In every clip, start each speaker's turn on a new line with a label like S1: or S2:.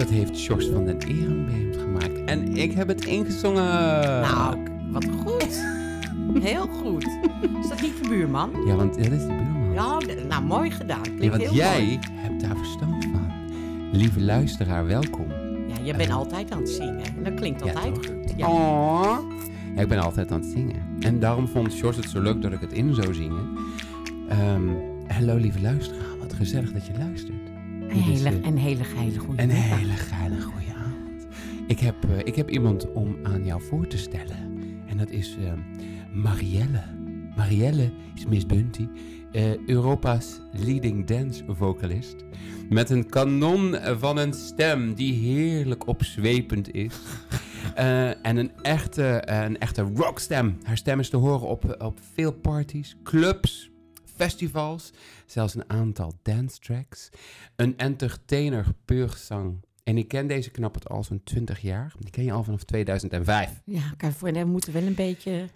S1: Oh, heeft Jos van den Eren bij hem gemaakt. En ik heb het ingezongen. Eh.
S2: Nou, wat goed. Heel goed. Is dat niet de buurman?
S1: Ja, want dat is de buurman.
S2: Ja, d- nou, mooi gedaan. Klinkt
S1: Ja, want
S2: heel
S1: jij
S2: mooi.
S1: hebt daar verstand van. Lieve luisteraar, welkom.
S2: Ja, jij bent altijd aan het zingen. En dat klinkt altijd
S1: toch? Oh.
S2: goed. Ja.
S1: Ja. Ik ben altijd aan het zingen. En daarom vond Sjors het zo leuk dat ik het in zou zingen. Ehm, hallo lieve luisteraar, wat gezellig dat je luistert.
S2: Een
S1: Dit is,
S2: hele,
S1: eh,
S2: een hele geile goede
S1: Een hele geile goede avond. Ik heb, eh, ik heb iemand om aan jou voor te stellen. En dat is eh, Marielle. Marielle is Miss Bunty. eh, Europa's leading dance vocalist. Met een kanon eh, van een stem die heerlijk opzwepend is. Eh, en een echte, eh, een echte rockstem. Haar stem is te horen op, op veel parties, clubs, festivals. Zelfs een aantal dance tracks. Een entertainer peurzang. En ik ken deze knappert al zo'n 20 jaar. Die ken je al vanaf 2005.
S2: Ja, kijk, voor- we moeten wel een beetje...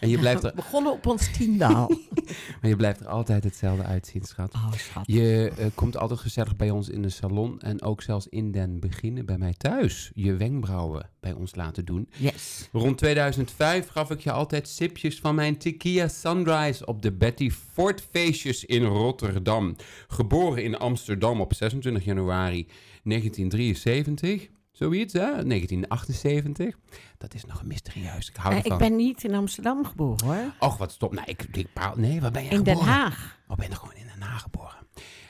S1: En je blijft
S2: We
S1: er,
S2: begonnen op ons tiende al.
S1: maar je blijft er altijd hetzelfde uitzien, schat.
S2: Oh, schat.
S1: Je eh, komt altijd gezellig bij ons in de salon. En ook zelfs in den beginnen bij mij thuis. Je wenkbrauwen bij ons laten doen.
S2: Yes.
S1: Rond 2005 gaf ik je altijd sipjes van mijn tequila sunrise op de Betty Ford feestjes in Rotterdam. Geboren in Amsterdam op 26 januari 1973. Zoiets, hè? 1978. Dat is nog een mysterieus. Ik hou
S2: Eh,
S1: ervan.
S2: ik ben niet in Amsterdam geboren, hoor.
S1: Och, wat stop. Nou, ik, ik paal- Nee, waar ben je
S2: In Den
S1: geboren?
S2: Haag.
S1: Oh, ben je gewoon in Den Haag geboren?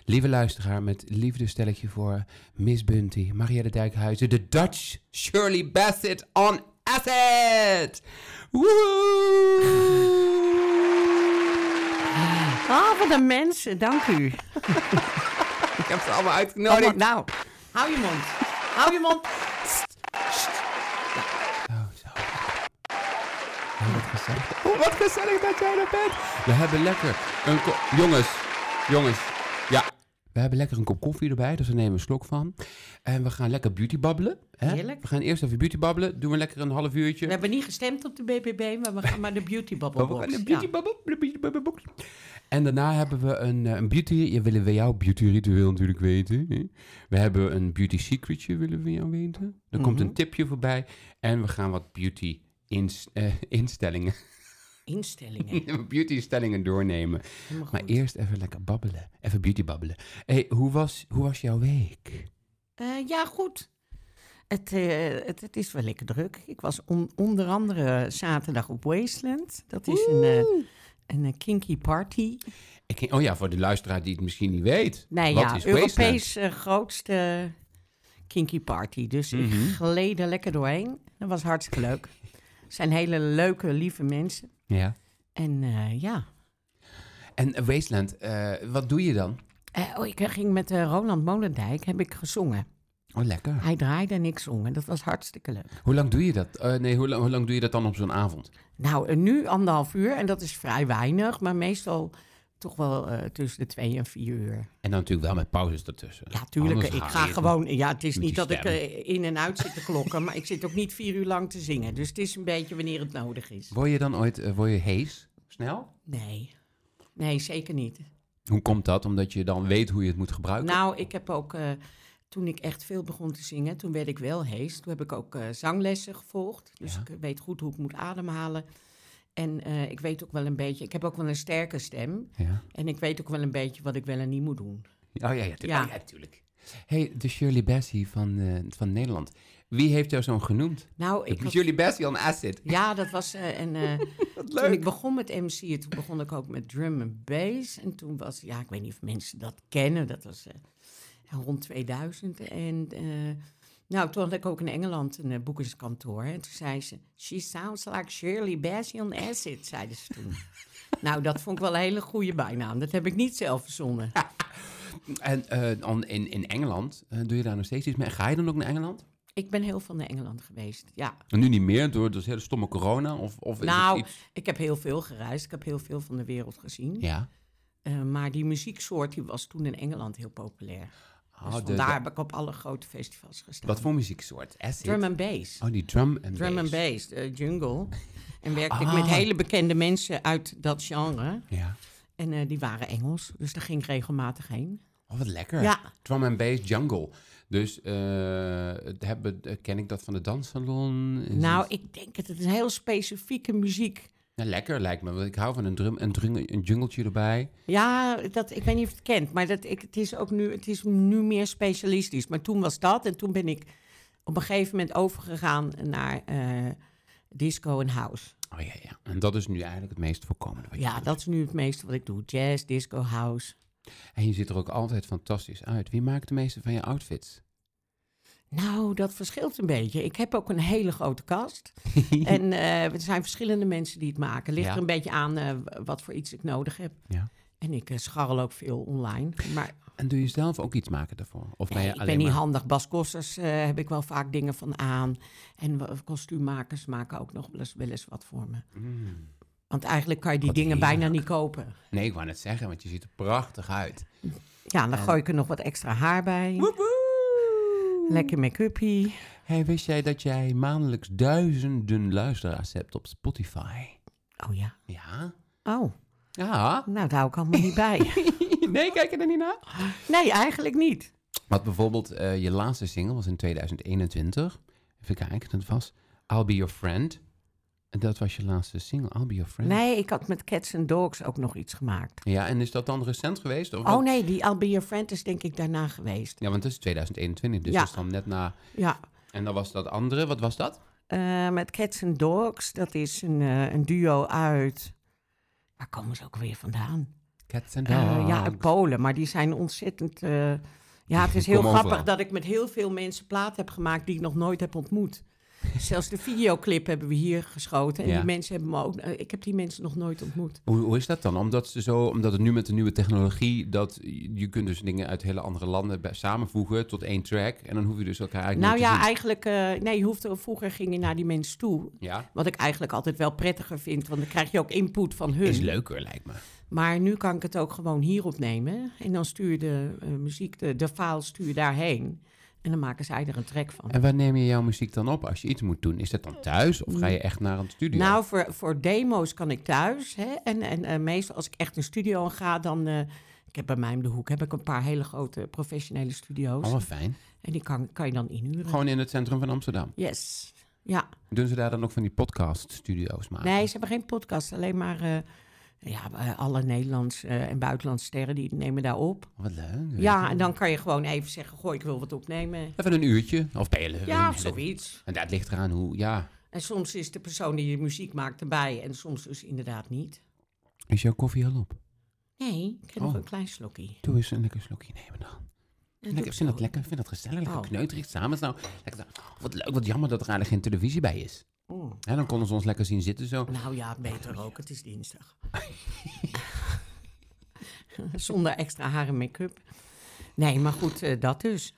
S1: Lieve luisteraar, met liefde stel ik je voor Miss Bunty, Marielle Dijkhuizen, de Dutch Shirley Bassett on acid. Woehoe!
S2: Oh, wat een mensen. Dank
S1: Oh,
S2: u.
S1: ik heb ze allemaal
S2: Oh,
S1: uitgenodigd.
S2: nou, hou je mond. Hou je mond.
S1: Oh, zo. Oh, wat gezellig. Oh, wat gezellig dat jij er bent. We hebben lekker een ko- Jongens, jongens. Ja. We hebben lekker een kop koffie erbij, dus daar nemen we een slok van. En we gaan lekker beauty babbelen. Hè?
S2: Heerlijk.
S1: We gaan eerst even beauty babbelen. Doen we lekker een half uurtje.
S2: We hebben niet gestemd op de BBB, maar we gaan maar de Beauty Bubble
S1: Oh, we
S2: Box.
S1: gaan een
S2: Ja.
S1: beauty babbel- de beauty babbel box. En daarna hebben we een, eh, een beauty... Ja, willen we jouw beauty ritueel natuurlijk weten. hè? We hebben een beauty secretje, willen we jou weten. Er komt
S2: Mhm.
S1: een tipje voorbij. En we gaan wat beauty ins- eh, instellingen
S2: Instellingen.
S1: beautystellingen doornemen.
S2: Helemaal
S1: Maar
S2: goed.
S1: eerst even lekker babbelen. Even beauty babbelen. Hey, hoe, was, hoe was jouw week?
S2: Eh, ja, goed. Het, eh, het, het is wel lekker druk. Ik was on- onder andere zaterdag op Wasteland. Dat is een, eh, een eh, kinky party.
S1: Ik, ging- oh ja, voor de luisteraar die het misschien niet weet.
S2: Nee,
S1: Wat
S2: ja,
S1: is Wasteland?
S2: Europees eh, grootste kinky party. Dus
S1: Mhm.
S2: ik gleed er lekker doorheen. Dat was hartstikke leuk. Het zijn hele leuke, lieve mensen.
S1: Ja.
S2: En eh, ja,
S1: En eh, Wasteland, eh, wat doe je dan?
S2: Eh, oh, ik ging met eh, Roland Molendijk, heb ik gezongen.
S1: Oh, lekker.
S2: Hij draaide en ik zong en dat was hartstikke leuk.
S1: Hoe lang doe je dat? Eh, nee, hoe lang, hoe lang doe je dat dan op zo'n avond?
S2: Nou, en nu anderhalf uur en dat is vrij weinig, maar meestal toch wel eh, tussen de twee en vier uur.
S1: En dan natuurlijk wel met pauzes ertussen.
S2: Ja, tuurlijk.
S1: Anders
S2: eh, Ik
S1: haal
S2: ga
S1: je het
S2: gewoon. Ja, het is
S1: Met
S2: niet
S1: die
S2: dat ik
S1: stem.
S2: eh, in en uit zit te klokken, maar ik zit ook niet vier uur lang te zingen. Dus het is een beetje wanneer het nodig is.
S1: Word je dan ooit eh, word je hees? Snel?
S2: Nee. Nee, zeker niet.
S1: Hoe komt dat? Omdat je dan weet hoe je het moet gebruiken?
S2: Nou, ik heb ook. eh, toen ik echt veel begon te zingen, toen werd ik wel hees. Toen heb ik ook eh, zanglessen gevolgd. Dus
S1: Ja.
S2: ik weet goed hoe ik moet ademhalen. En eh, ik weet ook wel een beetje. Ik heb ook wel een sterke stem.
S1: ja.
S2: En ik weet ook wel een beetje wat ik wel en niet moet doen.
S1: Oh ja, ja, tu-
S2: Ja.
S1: oh, ja, tuurlijk. hey, de Shirley Bassey van, eh, van Nederland. Wie heeft jou zo'n genoemd?
S2: Nou, ik had-
S1: Shirley Bassey on acid.
S2: Ja, dat was. eh, en, eh,
S1: leuk.
S2: Toen ik begon met MC'en, toen begon ik ook met drum en bass. En toen was, ja, ik weet niet of mensen dat kennen, dat was eh, rond 2000. En eh, nou, toen had ik ook in Engeland een eh, boekingskantoor. En toen zei ze, she sounds like Shirley Bassey on acid, zeiden ze toen. nou, dat vond ik wel een hele goede bijnaam. Dat heb ik niet zelf verzonnen.
S1: En eh, dan in, in Engeland, eh, doe je daar nog steeds iets mee? Ga je dan ook naar Engeland?
S2: Ik ben heel veel naar Engeland geweest, ja.
S1: Nu niet meer, door dat hele stomme corona? Of, of is
S2: Nou,
S1: het iets...
S2: ik heb heel veel gereisd. Ik heb heel veel van de wereld gezien.
S1: Ja.
S2: Eh, maar die muzieksoort die was toen in Engeland heel populair.
S1: Oh,
S2: dus
S1: de-
S2: vandaar
S1: de-
S2: heb ik op alle grote festivals gestaan.
S1: wat voor muzieksoort? Acid?
S2: Drum and bass.
S1: Oh, die drum en
S2: Drum and
S1: bass.
S2: bass, eh, jungle. En werkte
S1: Ah.
S2: ik met hele bekende mensen uit dat genre.
S1: Ja.
S2: En eh, die waren Engels, dus daar ging ik regelmatig heen.
S1: Oh, wat lekker.
S2: Ja.
S1: Drum and bass jungle. Dus eh, het hebben, eh, ken ik dat van de danssalon? Is
S2: Nou,
S1: het-
S2: ik denk het. Het is heel specifieke muziek.
S1: Nou, lekker lijkt me, want ik hou van een drum, een, drum, een jungletje erbij.
S2: Ja, dat, ik weet niet of je het kent, maar dat, ik, het is ook nu, het is nu meer specialistisch. Maar toen was dat en toen ben ik op een gegeven moment overgegaan naar eh, disco en house.
S1: Oh ja, ja. En dat is nu eigenlijk het meest voorkomende. Wat je
S2: Ja,
S1: doet.
S2: dat is nu het meeste wat ik doe. Jazz, disco, house.
S1: En je ziet er ook altijd fantastisch uit. Wie maakt de meeste van je outfits?
S2: Nou, dat verschilt een beetje. Ik heb ook een hele grote kast. en eh, er zijn verschillende mensen die het maken. Ligt
S1: Ja.
S2: er een beetje aan eh, wat voor iets ik nodig heb.
S1: Ja.
S2: En ik eh, scharrel ook veel online. Maar
S1: En doe je zelf ook iets maken daarvoor? Of ben
S2: nee,
S1: je
S2: ik
S1: alleen
S2: ben niet
S1: maar...
S2: handig. Bas Kossers eh, heb ik wel vaak dingen van aan. En wa- kostuummakers maken ook nog wel eens, wel eens wat voor me.
S1: Mm.
S2: Want eigenlijk kan je die
S1: Wat
S2: dingen bijna
S1: heerlijk.
S2: niet kopen.
S1: Nee, ik wou net zeggen, want je ziet er prachtig uit.
S2: Ja, dan gooi ik er nog wat extra haar bij. Lekker make-upie.
S1: Hey, wist jij dat jij maandelijks duizenden luisteraars hebt op Spotify?
S2: Oh ja.
S1: Ja?
S2: Oh,
S1: Ja?
S2: nou daar hou ik allemaal niet bij.
S1: Nee, kijk je er niet naar?
S2: Nee, eigenlijk niet.
S1: Want bijvoorbeeld, eh, je laatste single was in 2021. Even kijken, dat was I'll Be Your Friend. En dat was je laatste single, I'll Be Your Friend.
S2: Nee, ik had met Cats and Dogs ook nog iets gemaakt.
S1: Ja, en is dat dan recent geweest? Of
S2: Oh nee, die I'll Be Your Friend is denk ik daarna geweest.
S1: Ja, want dat is 2021, dus
S2: Ja.
S1: dat is dan net na...
S2: Ja,
S1: En dan was dat andere, wat was dat?
S2: eh, met Cats and Dogs, dat is een, eh, een duo uit... Waar komen ze ook weer vandaan?
S1: Cats and
S2: Eh, ja,
S1: Dogs.
S2: uit Polen, maar die zijn ontzettend... eh, ja, het is
S1: Kom
S2: heel grappig
S1: overal.
S2: dat ik met heel veel mensen plaat heb gemaakt die ik nog nooit heb ontmoet. Zelfs de videoclip hebben we hier geschoten. En
S1: Ja.
S2: die mensen hebben me ook... eh, ik heb die mensen nog nooit ontmoet.
S1: Hoe, hoe is dat dan? Omdat, ze zo, omdat het nu met de nieuwe technologie, dat je kunt dus dingen uit hele andere landen bij- samenvoegen tot één track. En dan hoef je dus elkaar eigenlijk
S2: Nou
S1: niet
S2: ja,
S1: te
S2: eigenlijk... eh, nee, je hoeft, vroeger ging je naar die mensen toe.
S1: zien. Ja,
S2: Wat ik eigenlijk altijd wel prettiger vind, want dan krijg je ook input van hun.
S1: is leuker lijkt me.
S2: Maar nu kan ik het ook gewoon hier opnemen. En dan stuur je de eh, muziek, de, de file stuur je daarheen. En dan maken zij er een track van.
S1: En waar neem je jouw muziek dan op als je iets moet doen? Is dat dan thuis of ga je echt naar een studio?
S2: Nou, voor, voor demo's kan ik thuis. Hè? En, en eh, meestal als ik echt een studio in ga, dan... eh, ik heb bij mij om de hoek heb ik een paar hele grote professionele studio's.
S1: Oh, wat fijn.
S2: En die kan, kan je dan inhuren.
S1: Gewoon in het centrum van Amsterdam.
S2: Yes. Ja.
S1: Doen ze daar dan ook van die podcast-studio's maken?
S2: Nee, ze hebben geen podcast. Alleen maar eh, ja, eh, alle Nederlandse eh, en buitenlandse sterren die nemen daar op.
S1: Wat leuk.
S2: Ja, en dan kan je gewoon even zeggen: Goh, ik wil wat opnemen.
S1: Even een uurtje of bellen.
S2: Ja, of zoiets.
S1: En dat ligt eraan hoe, ja.
S2: En soms is de persoon die je muziek maakt erbij en soms dus inderdaad niet.
S1: Is jouw koffie al op?
S2: Nee, ik heb nog
S1: Oh.
S2: een klein slokje.
S1: Doe eens een lekker slokje nemen dan. En ik vind dat lekker, ik vind dat gezellig, lekker
S2: Oh.
S1: kneuterig samen. Nou, lekker, zo. wat leuk, wat jammer dat er eigenlijk geen televisie bij is.
S2: Mm.
S1: Hè, dan konden ze ons lekker zien zitten zo.
S2: Nou ja, beter ook. Het is dinsdag. Zonder extra haar en make-up. Nee, maar goed, eh, dat dus.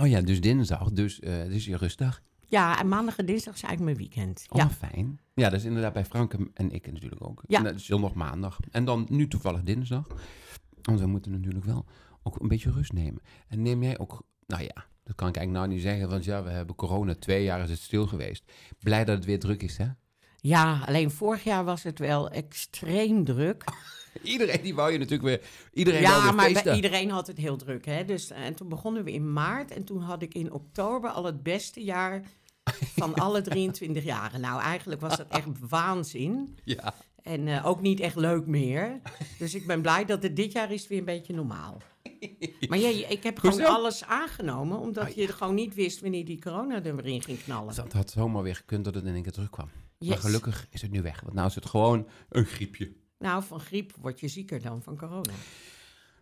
S1: Oh ja, dus dinsdag, dus eh het is je rustdag.
S2: Ja, en maandag en dinsdag is eigenlijk mijn weekend.
S1: Oh,
S2: ja.
S1: fijn. Ja, dat is inderdaad bij Frank en- en ik natuurlijk ook.
S2: Ja.
S1: En dat is zondag, maandag. En dan nu toevallig dinsdag. Want we moeten natuurlijk wel ook een beetje rust nemen. En neem jij ook, nou ja, dat kan ik eigenlijk nou niet zeggen, want ja, we hebben corona, twee jaar is het stil geweest. Blij dat het weer druk is, hè?
S2: ja, alleen vorig jaar was het wel extreem druk.
S1: Iedereen die wou je natuurlijk weer, iedereen wou
S2: ja,
S1: weer
S2: maar bij
S1: feesten.
S2: iedereen had het heel druk. Hè? Dus, eh, en toen begonnen we in maart. En toen had ik in oktober al het beste jaar van alle 23 jaren. Nou, eigenlijk was dat echt waanzin.
S1: Ja.
S2: En eh, ook niet echt leuk meer. Dus ik ben blij dat het dit jaar is weer een beetje normaal. Maar ja, je- ik heb gewoon
S1: Hoezo? Ah,
S2: alles aangenomen. Omdat je gewoon niet wist wanneer die corona er weer in ging knallen.
S1: Dus Dat had zomaar weer gekund dat het in één keer terugkwam. Maar
S2: Yes.
S1: gelukkig is het nu weg. Want nou is het gewoon een griepje.
S2: Nou, van griep word je zieker dan van corona.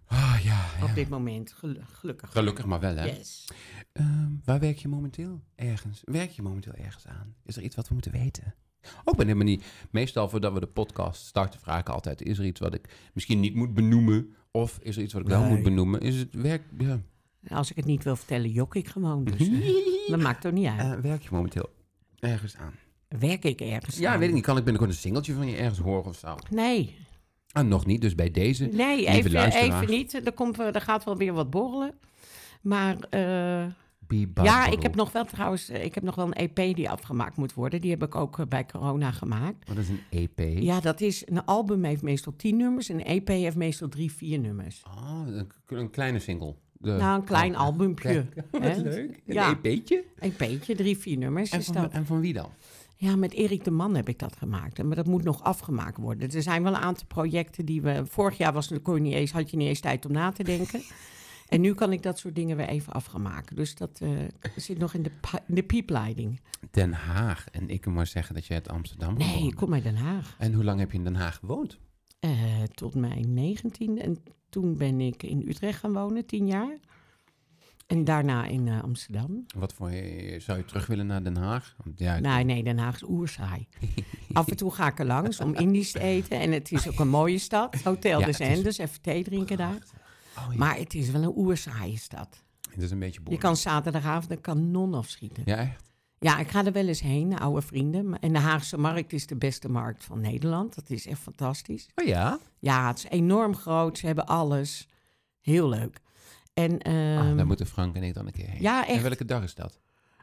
S1: Ah ja.
S2: Op dit moment, gelu- gelukkig.
S1: Gelukkig maar wel, hè?
S2: Yes.
S1: Ehm, waar werk je momenteel? Ergens. Werk je momenteel ergens aan? Is er iets wat we moeten weten? Ook ben helemaal niet. Meestal voordat we de podcast starten, vraag ik altijd: is er iets wat ik misschien niet moet benoemen? Of is er iets wat ik wel
S2: Nee.
S1: moet benoemen? Is het werk. Ja.
S2: Als ik het niet wil vertellen, jok ik gewoon. Dus,
S1: Mhm.
S2: eh, dat maakt ook niet uit.
S1: Eh, werk je momenteel ergens aan?
S2: Werk ik ergens?
S1: Eh, Ja,
S2: aan?
S1: weet ik niet. Kan ik binnenkort een singeltje van je ergens horen of zo?
S2: Nee,
S1: Ah, nog niet, dus bij deze.
S2: nee
S1: Lieve
S2: even,
S1: luisteraar.
S2: even niet. Er, komt, eh, er gaat wel weer wat borrelen. Maar eh,
S1: Bebop
S2: ja, ik heb
S1: Bobble.
S2: nog wel trouwens, eh, ik heb nog wel een EP die afgemaakt moet worden. Die heb ik ook eh, bij corona gemaakt.
S1: Wat is een E EP?
S2: Ja, dat is, een E album heeft meestal tien nummers. Een EP heeft meestal drie, vier nummers.
S1: Ah, een, een kleine single. de-
S2: Nou, een klein
S1: Oh,
S2: albumpje.
S1: kijk,
S2: hè?
S1: Wat leuk. Een
S2: Ja.
S1: EP'tje.
S2: Een beetje, drie, vier nummers
S1: En
S2: is
S1: van,
S2: dat.
S1: en van wie dan?
S2: Ja, met Erik de Man heb ik dat gemaakt. Maar dat moet nog afgemaakt worden. Er zijn wel een aantal projecten die we... Vorig jaar was, kon je niet eens, had je niet eens tijd om na te denken. En nu kan ik dat soort dingen weer even afgemaken. Dus dat eh, zit nog in de, pi- in de piepleiding.
S1: Den Haag. En ik moet maar zeggen dat je uit Amsterdam
S2: Nee,
S1: komt.
S2: ik kom uit Den Haag.
S1: En hoe lang heb je in Den Haag gewoond?
S2: Eh, tot mijn negentiende. En toen ben ik in Utrecht gaan wonen, tien jaar. En daarna in eh, Amsterdam.
S1: Wat voor eh, zou je terug willen naar Den Haag? Want ja, het-
S2: Nou, Nee, nee, Den Haag is oerzaai. Af en toe ga ik er langs om Indisch te eten. En het is ook een mooie stad. Hotel
S1: Ja,
S2: dus
S1: het is
S2: en dus even thee drinken daar.
S1: Oh, ja.
S2: Maar het is wel een oerzaaie stad.
S1: het is een beetje
S2: Je
S1: boeiend.
S2: kan zaterdagavond een kanon afschieten.
S1: Ja, echt?
S2: Ja, ik ga er wel eens heen, naar oude vrienden. Maar- En de Haagse markt is de beste markt van Nederland. Dat is echt fantastisch.
S1: Oh ja?
S2: Ja, het is enorm groot. Ze hebben alles. Heel leuk. En
S1: Ah,
S2: ehm,
S1: daar moeten Frank en ik dan een keer heen.
S2: ja,
S1: En
S2: echt.
S1: welke dag is dat?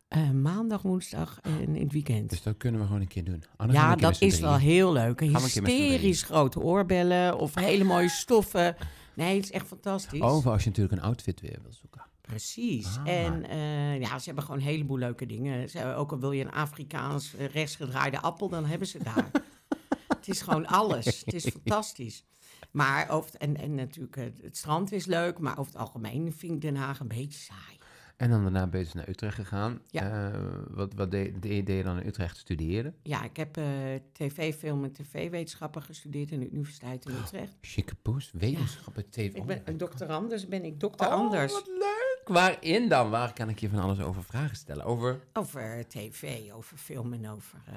S2: eh, maandag, woensdag en in het weekend.
S1: Dus dat kunnen we gewoon een keer doen. Oh, dan gaan we
S2: Ja,
S1: een keer
S2: dat
S1: met z'n
S2: is wel
S1: drieën.
S2: heel leuk.
S1: Gaan we een keer met z'n
S2: Hysterisch grote oorbellen of hele mooie stoffen. Nee, het is echt fantastisch.
S1: Over als je natuurlijk een outfit weer wil zoeken.
S2: Precies.
S1: Oh. Ah.
S2: En eh, ja, ze hebben gewoon een heleboel leuke dingen. Ze, hebben ook al wil je een Afrikaans eh, rechtsgedraaide appel, dan hebben ze daar. het is gewoon alles. Het is fantastisch. Maar over, en, en natuurlijk, eh, het strand is leuk, maar over het algemeen vind ik Den Haag een beetje saai.
S1: En dan daarna ben je dus naar Utrecht gegaan.
S2: Ja.
S1: Eh, wat wat deed deed- deed je dan in Utrecht? Studeren?
S2: Ja, ik heb eh, tv, film en tv-wetenschappen gestudeerd aan de Universiteit
S1: Oh,
S2: in Utrecht.
S1: Chique poes, wetenschappen, tv.
S2: Ik ben een dokter Anders, ben ik dokter
S1: Oh,
S2: Anders.
S1: wat leuk! Waarin dan? Waar kan ik je van alles over vragen stellen? Over Oh.
S2: Over tv, over film en over... eh,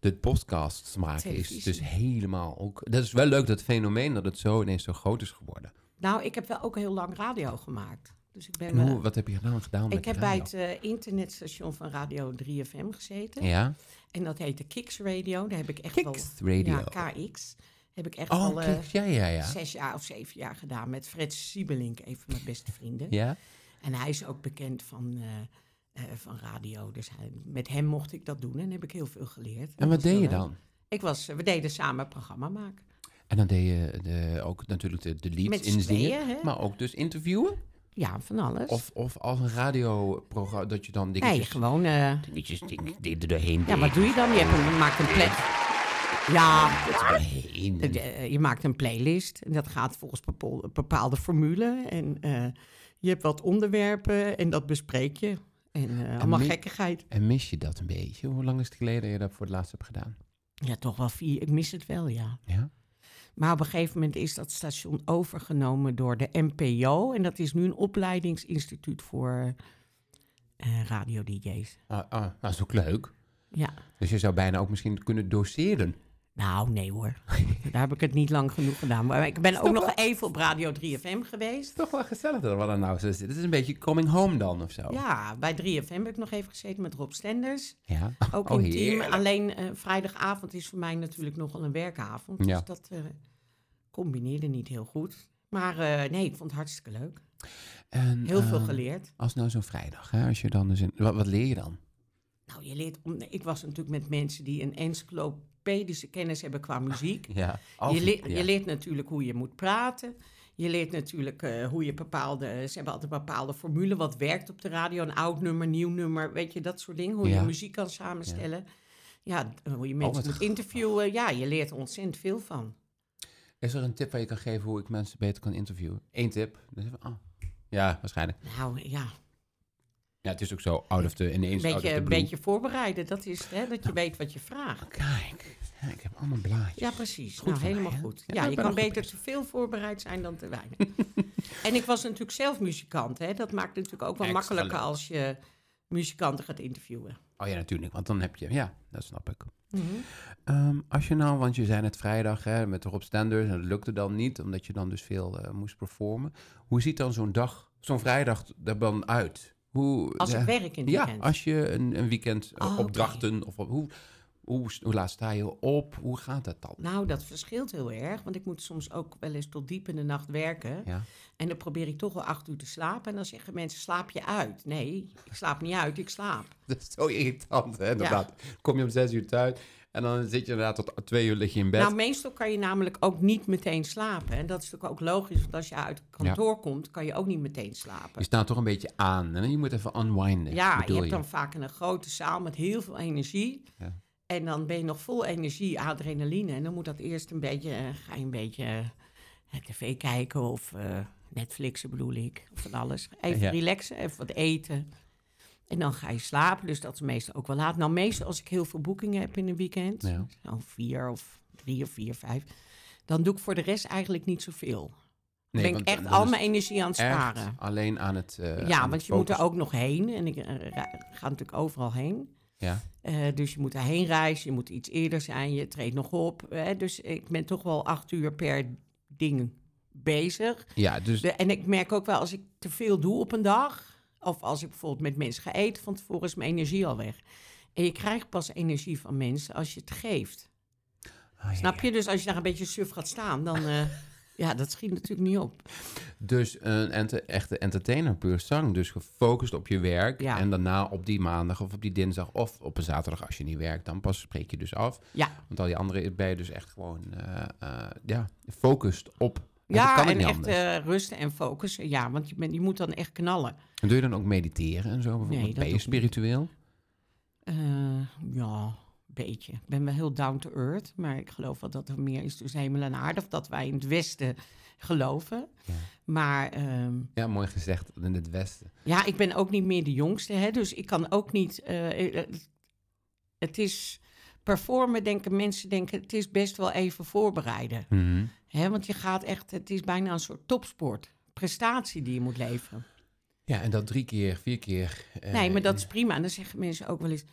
S1: de podcasts maken is
S2: Televisie.
S1: dus helemaal ook... Dat is wel leuk, dat fenomeen, dat het zo ineens zo groot is geworden.
S2: Nou, ik heb wel ook heel lang radio gemaakt. Dus ik ben...
S1: En
S2: eh,
S1: hoe, wat heb je gedaan, gedaan met
S2: ik heb
S1: de
S2: bij
S1: radio?
S2: het eh, internetstation van Radio 3FM gezeten.
S1: Ja?
S2: En dat heette Kicks Radio. Daar heb ik echt
S1: Kiks
S2: wel...
S1: Radio.
S2: Ja, KX. Heb ik echt
S1: oh,
S2: al eh,
S1: Kiks, ja, ja, ja.
S2: zes jaar of zeven jaar gedaan met Fred Siebelink, een van mijn beste vrienden.
S1: Ja?
S2: En hij is ook bekend van, eh, eh, van radio. Dus hij- met hem mocht ik dat doen en heb ik heel veel geleerd. Dat
S1: En wat
S2: was
S1: deed
S2: heel
S1: je
S2: leuk.
S1: dan?
S2: Ik was, we deden samen een programma maken.
S1: En dan deed je de, ook natuurlijk de, de
S2: Met
S1: leads
S2: z'n tweeën,
S1: inzingen,
S2: hè?
S1: maar ook dus interviewen?
S2: Ja, van alles.
S1: Of, of als een radioprogramma, dat je dan
S2: nee,
S1: dingetjes...
S2: gewoon... eh,
S1: dingetjes ding, ding er doorheen
S2: Ja, wat doe je dan? Je hebt een, maakt een plek. Ja, het-
S1: heen.
S2: het- eh, je maakt een playlist en dat gaat volgens bepo- bepaalde formule. En eh, je hebt wat onderwerpen en dat bespreek je. En eh, allemaal
S1: mi-
S2: gekkigheid.
S1: En mis je dat een beetje? Hoe lang is het geleden dat je dat voor het laatst hebt gedaan?
S2: Ja, toch wel vier. Ik mis het wel, ja.
S1: Ja?
S2: Maar op een gegeven moment is dat station overgenomen door de NPO. En dat is nu een opleidingsinstituut voor eh radio-dj's.
S1: Ah, ah, dat is ook leuk.
S2: Ja.
S1: Dus je zou bijna ook misschien kunnen doseren.
S2: Nou, nee hoor. Daar heb ik het niet lang genoeg gedaan. Maar ik ben ook nog even op Radio 3FM geweest.
S1: Het is toch wel gezellig dat we dan nou zo zitten. Het is een beetje coming home dan of zo.
S2: Ja, bij 3FM heb ik nog even gezeten met Rob Stenders.
S1: Ja?
S2: Ook
S1: Oh,
S2: in intiem.
S1: heerlijk.
S2: Alleen eh, vrijdagavond is voor mij natuurlijk nogal een werkavond.
S1: Ja.
S2: Dus dat eh, combineerde niet heel goed. Maar eh, nee, ik vond het hartstikke leuk.
S1: En,
S2: Heel veel
S1: Mm, eh,
S2: geleerd.
S1: Als nou zo'n vrijdag, hè, als je dan dus in- wat, wat leer je dan?
S2: Nou, je leert om, ik was natuurlijk met mensen die een encyclopedische kennis hebben qua
S1: Ah.
S2: muziek.
S1: Ja.
S2: Je, leert- je leert natuurlijk hoe je moet praten. Je leert natuurlijk eh, hoe je bepaalde... Ze hebben altijd bepaalde formule. Wat werkt op de radio? Een oud nummer, nieuw nummer. Weet je, dat soort dingen. Hoe
S1: Ja.
S2: je muziek kan samenstellen. Ja, d- hoe je
S1: wat
S2: mensen moet
S1: grappig.
S2: interviewen. Ja, je leert er ontzettend veel van.
S1: Is er een tip waar je kan geven hoe ik mensen beter kan interviewen? Eén tip. Dus even, ah. Ja, waarschijnlijk.
S2: Nou ja,
S1: Ja, het is ook zo out of the, ineens
S2: een
S1: out of
S2: beetje,
S1: the
S2: een
S1: blue.
S2: beetje voorbereiden. Dat is het, hè, dat je weet wat je vraagt.
S1: Kijk, ja, ik heb allemaal blaadjes.
S2: Ja, precies.
S1: Goed
S2: nou,
S1: van mij,
S2: helemaal
S1: hè?
S2: goed.
S1: Ja,
S2: Ja,
S1: ik
S2: je
S1: ben
S2: kan
S1: nog goed
S2: beter te veel voorbereid zijn dan te weinig. en ik was natuurlijk zelf muzikant. Hè? Dat maakt het natuurlijk ook wel
S1: Extra
S2: makkelijker
S1: leuk.
S2: als je muzikanten gaat interviewen.
S1: Oh ja, natuurlijk, want dan heb je... Ja, dat snap ik.
S2: Mhm.
S1: Ehm, als je nou, want je zei net vrijdag hè, met Rob Stenders... en dat lukte dan niet, omdat je dan dus veel eh, moest performen. Hoe ziet dan zo'n dag, zo'n vrijdag er dan uit? Hoe,
S2: Als
S1: ja,
S2: ik werk in het
S1: Ja,
S2: weekend.
S1: als je een, een weekend eh,
S2: Oh, oké.
S1: opdrachten... Of, op- hoe, hoe, hoe laat sta je op? Hoe gaat dat dan?
S2: Nou, dat verschilt heel erg. Want ik moet soms ook wel eens tot diep in de nacht werken.
S1: Ja.
S2: En dan probeer ik toch wel acht uur te slapen. En dan zeggen mensen, slaap je uit? Nee, ik slaap niet uit, ik slaap.
S1: Dat is zo irritant, hè, inderdaad. Kom je om zes uur thuis En dan zit je inderdaad tot twee uur lig je in bed.
S2: Nou, meestal kan je namelijk ook niet meteen slapen. En dat is natuurlijk ook logisch, want als je uit het kantoor komt, kan je ook niet meteen
S1: je
S2: slapen.
S1: staat toch een beetje aan. En je moet even unwinden.
S2: Ja, je
S1: bedoel
S2: hebt dan vaak een grote zaal met heel veel energie.
S1: Ja.
S2: En dan ben je nog vol energie, adrenaline. En dan moet dat eerst een beetje, eh, ga je een beetje eh, tv kijken of eh, Netflixen bedoel ik. Of van alles. Even
S1: Ja.
S2: relaxen, even wat eten. En dan ga je slapen, dus dat is meestal ook wel laat. Nou, meestal als ik heel veel boekingen heb in een weekend,
S1: Ja.
S2: zo'n vier of drie of vier, vijf, dan doe ik voor de rest eigenlijk niet zoveel. Dan ben ik
S1: want
S2: echt
S1: dan
S2: al
S1: is
S2: mijn energie aan het
S1: het echt
S2: sparen.
S1: alleen aan het eh, aan
S2: ja,
S1: het
S2: want je moet er
S1: focussen.
S2: ook nog heen. En ik eh, ra- ga natuurlijk overal heen.
S1: Ja.
S2: Eh, dus je moet daarheen reizen, je moet iets eerder zijn, je treedt nog op. Hè? Dus ik ben toch wel acht uur per ding bezig.
S1: ja, dus
S2: De- en ik merk ook wel als ik te veel doe op een dag, of als ik bijvoorbeeld met mensen ga eten, van tevoren is mijn energie al weg. En je krijgt pas energie van mensen als je het geeft.
S1: Ah, ja,
S2: Snap
S1: ja.
S2: je? Dus als je daar een beetje suf gaat staan, dan. eh, ja, dat schiet natuurlijk niet op.
S1: Dus een ente- echte entertainer, puur zang. Dus gefocust op je werk.
S2: Ja.
S1: En daarna op die maandag of op die dinsdag of op een zaterdag als je niet werkt. Dan pas spreek je dus af.
S2: Ja,
S1: Want al die andere ben je dus echt gewoon eh, eh, ja, gefocust op. Want dat
S2: ja
S1: kan ook
S2: en
S1: niet
S2: echt
S1: anders.
S2: eh, rusten en focussen. Ja, want je, bent- je moet dan echt knallen.
S1: En Doe je dan ook mediteren en zo? Bijvoorbeeld?
S2: dat
S1: ben je
S2: doe ik niet.
S1: spiritueel?
S2: Eh, ja, een beetje. Ik ben wel heel down to earth, maar ik geloof wel dat er meer is tussen hemel en aarde. Of dat wij in het Westen geloven.
S1: Ja.
S2: Maar ehm,
S1: Ja, mooi gezegd. In het Westen.
S2: ja, ik ben ook niet meer de jongste, hè, dus ik kan ook niet. eh, eh, het is performen, denken mensen denken, het is best wel even voorbereiden. Hè, want je gaat echt, het is bijna een soort topsport. Prestatie die je moet leveren.
S1: Ja, en dat drie keer, vier keer. eh,
S2: Nee, maar dat is prima. En dan zeggen mensen ook wel eens: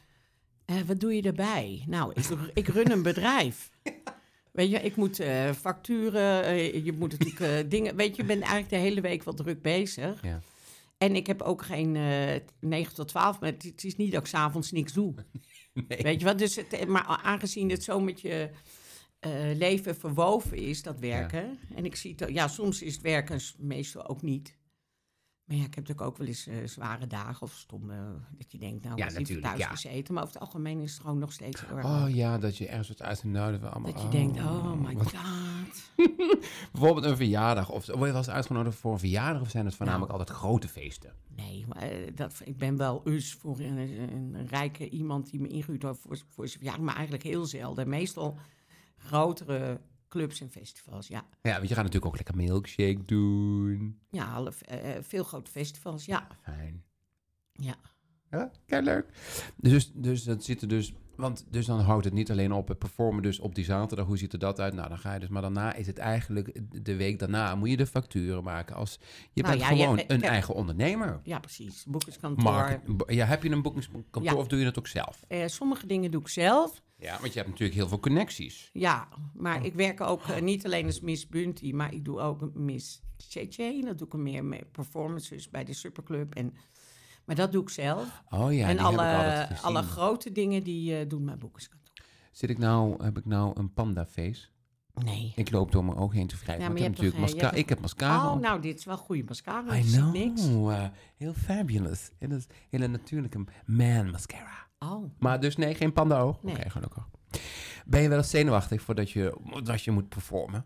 S2: eh, wat doe je daarbij? Nou, ik, ik run een bedrijf. Weet je, ik moet eh, facturen, eh, je moet natuurlijk eh, dingen. Weet je, je bent eigenlijk de hele week wel druk bezig.
S1: Ja.
S2: En ik heb ook geen eh 9 tot 12, maar het, het is niet dat ik s'avonds niks doe.
S1: Nee.
S2: Weet je wat? Dus het, maar aangezien het zo met je eh, leven verwoven is, dat werken. En ik zie het, ook- ja, soms is het werken s- meestal ook niet. Maar ja, ik heb natuurlijk ook wel eens eh, zware dagen of stomme. Dat je denkt, nou,
S1: Ja,
S2: ik heb
S1: natuurlijk,
S2: thuis
S1: ja.
S2: gezeten. Maar over het algemeen is het gewoon nog steeds heel erg
S1: Oh
S2: leuk.
S1: ja, dat je ergens wat uit de noden van allemaal.
S2: Dat je denkt, oh my
S1: wat-
S2: god.
S1: Bijvoorbeeld een verjaardag. Of word je wel eens uitgenodigd voor een verjaardag? Of zijn het voornamelijk altijd grote feesten?
S2: Nee, maar, eh, dat, ik ben wel us voor een, een- een rijke iemand die me ingehuurd heeft voor, voor zijn verjaardag. Maar eigenlijk heel zelden. Meestal grotere clubs en festivals, ja.
S1: Ja, want je gaat natuurlijk ook lekker milkshake doen.
S2: Ja, alle f- eh, eh, veel grote festivals, ja.
S1: Fijn.
S2: Ja.
S1: Ja, kijk leuk. Dus, dus dat zit er dus. Want dus dan houdt het niet alleen op het performen dus op die zaterdag. Hoe ziet er dat uit? Nou, dan ga je dus. Maar daarna is het eigenlijk de week daarna moet je de facturen maken. Als, je
S2: Nou
S1: bent
S2: ja, je-
S1: gewoon
S2: eh,
S1: een
S2: kijk.
S1: eigen ondernemer.
S2: Ja, precies. Boekingskantoor.
S1: Mark, ja, heb je een boekingskantoor
S2: Ja.
S1: of doe je dat ook zelf?
S2: Eh, sommige dingen doe ik zelf.
S1: Ja, want je hebt natuurlijk heel veel connecties.
S2: Ja, maar ik werk ook eh, niet alleen als Miss Bunty, maar ik doe ook Miss CC. Dat doe ik meer met performances bij de Superclub. En, maar dat doe ik zelf.
S1: Oh ja,
S2: en
S1: die heb ik altijd
S2: alle,
S1: gezien.
S2: alle grote dingen, die eh, doen mijn boekingskantoor.
S1: Zit ik nou, heb ik nou een pandaface?
S2: Nee.
S1: Ik loop door mijn ogen heen te wrijven.
S2: Ja,
S1: want
S2: maar
S1: ik,
S2: je
S1: heb
S2: hebt
S1: natuurlijk
S2: toch,
S1: mascara,
S2: eh, je hebt
S1: ik heb mascara
S2: oh,
S1: op.
S2: nou, dit is wel goede mascara. dus
S1: I
S2: Ik zie
S1: know,
S2: niks.
S1: eh, heel fabulous. En dat is hele natuurlijke man mascara.
S2: Oh,
S1: Maar dus nee, geen panda oog.
S2: Nee.
S1: Oké, gelukkig. Ben je wel eens zenuwachtig voordat je, dat je moet performen?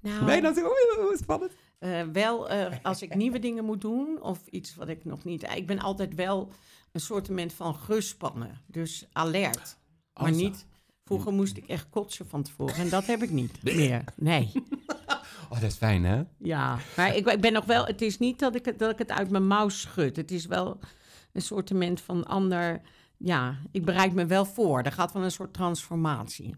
S2: nou.
S1: Nee, dat is oh, oh, spannend.
S2: Eh, wel eh, als ik nieuwe dingen moet doen of iets wat ik nog niet. Ik ben altijd wel een soortement van gespannen, dus alert. Maar
S1: Als-
S2: niet. Vroeger moest ik echt kotsen van tevoren en dat heb ik niet meer. Nee.
S1: Oh, dat is fijn, hè?
S2: Ja. Maar ik, ik ben nog wel. Het is niet dat ik, het- dat ik het uit mijn mouw schud. Het is wel een soortement van ander. Ja, ik bereid me wel voor. Er gaat wel een soort transformatie.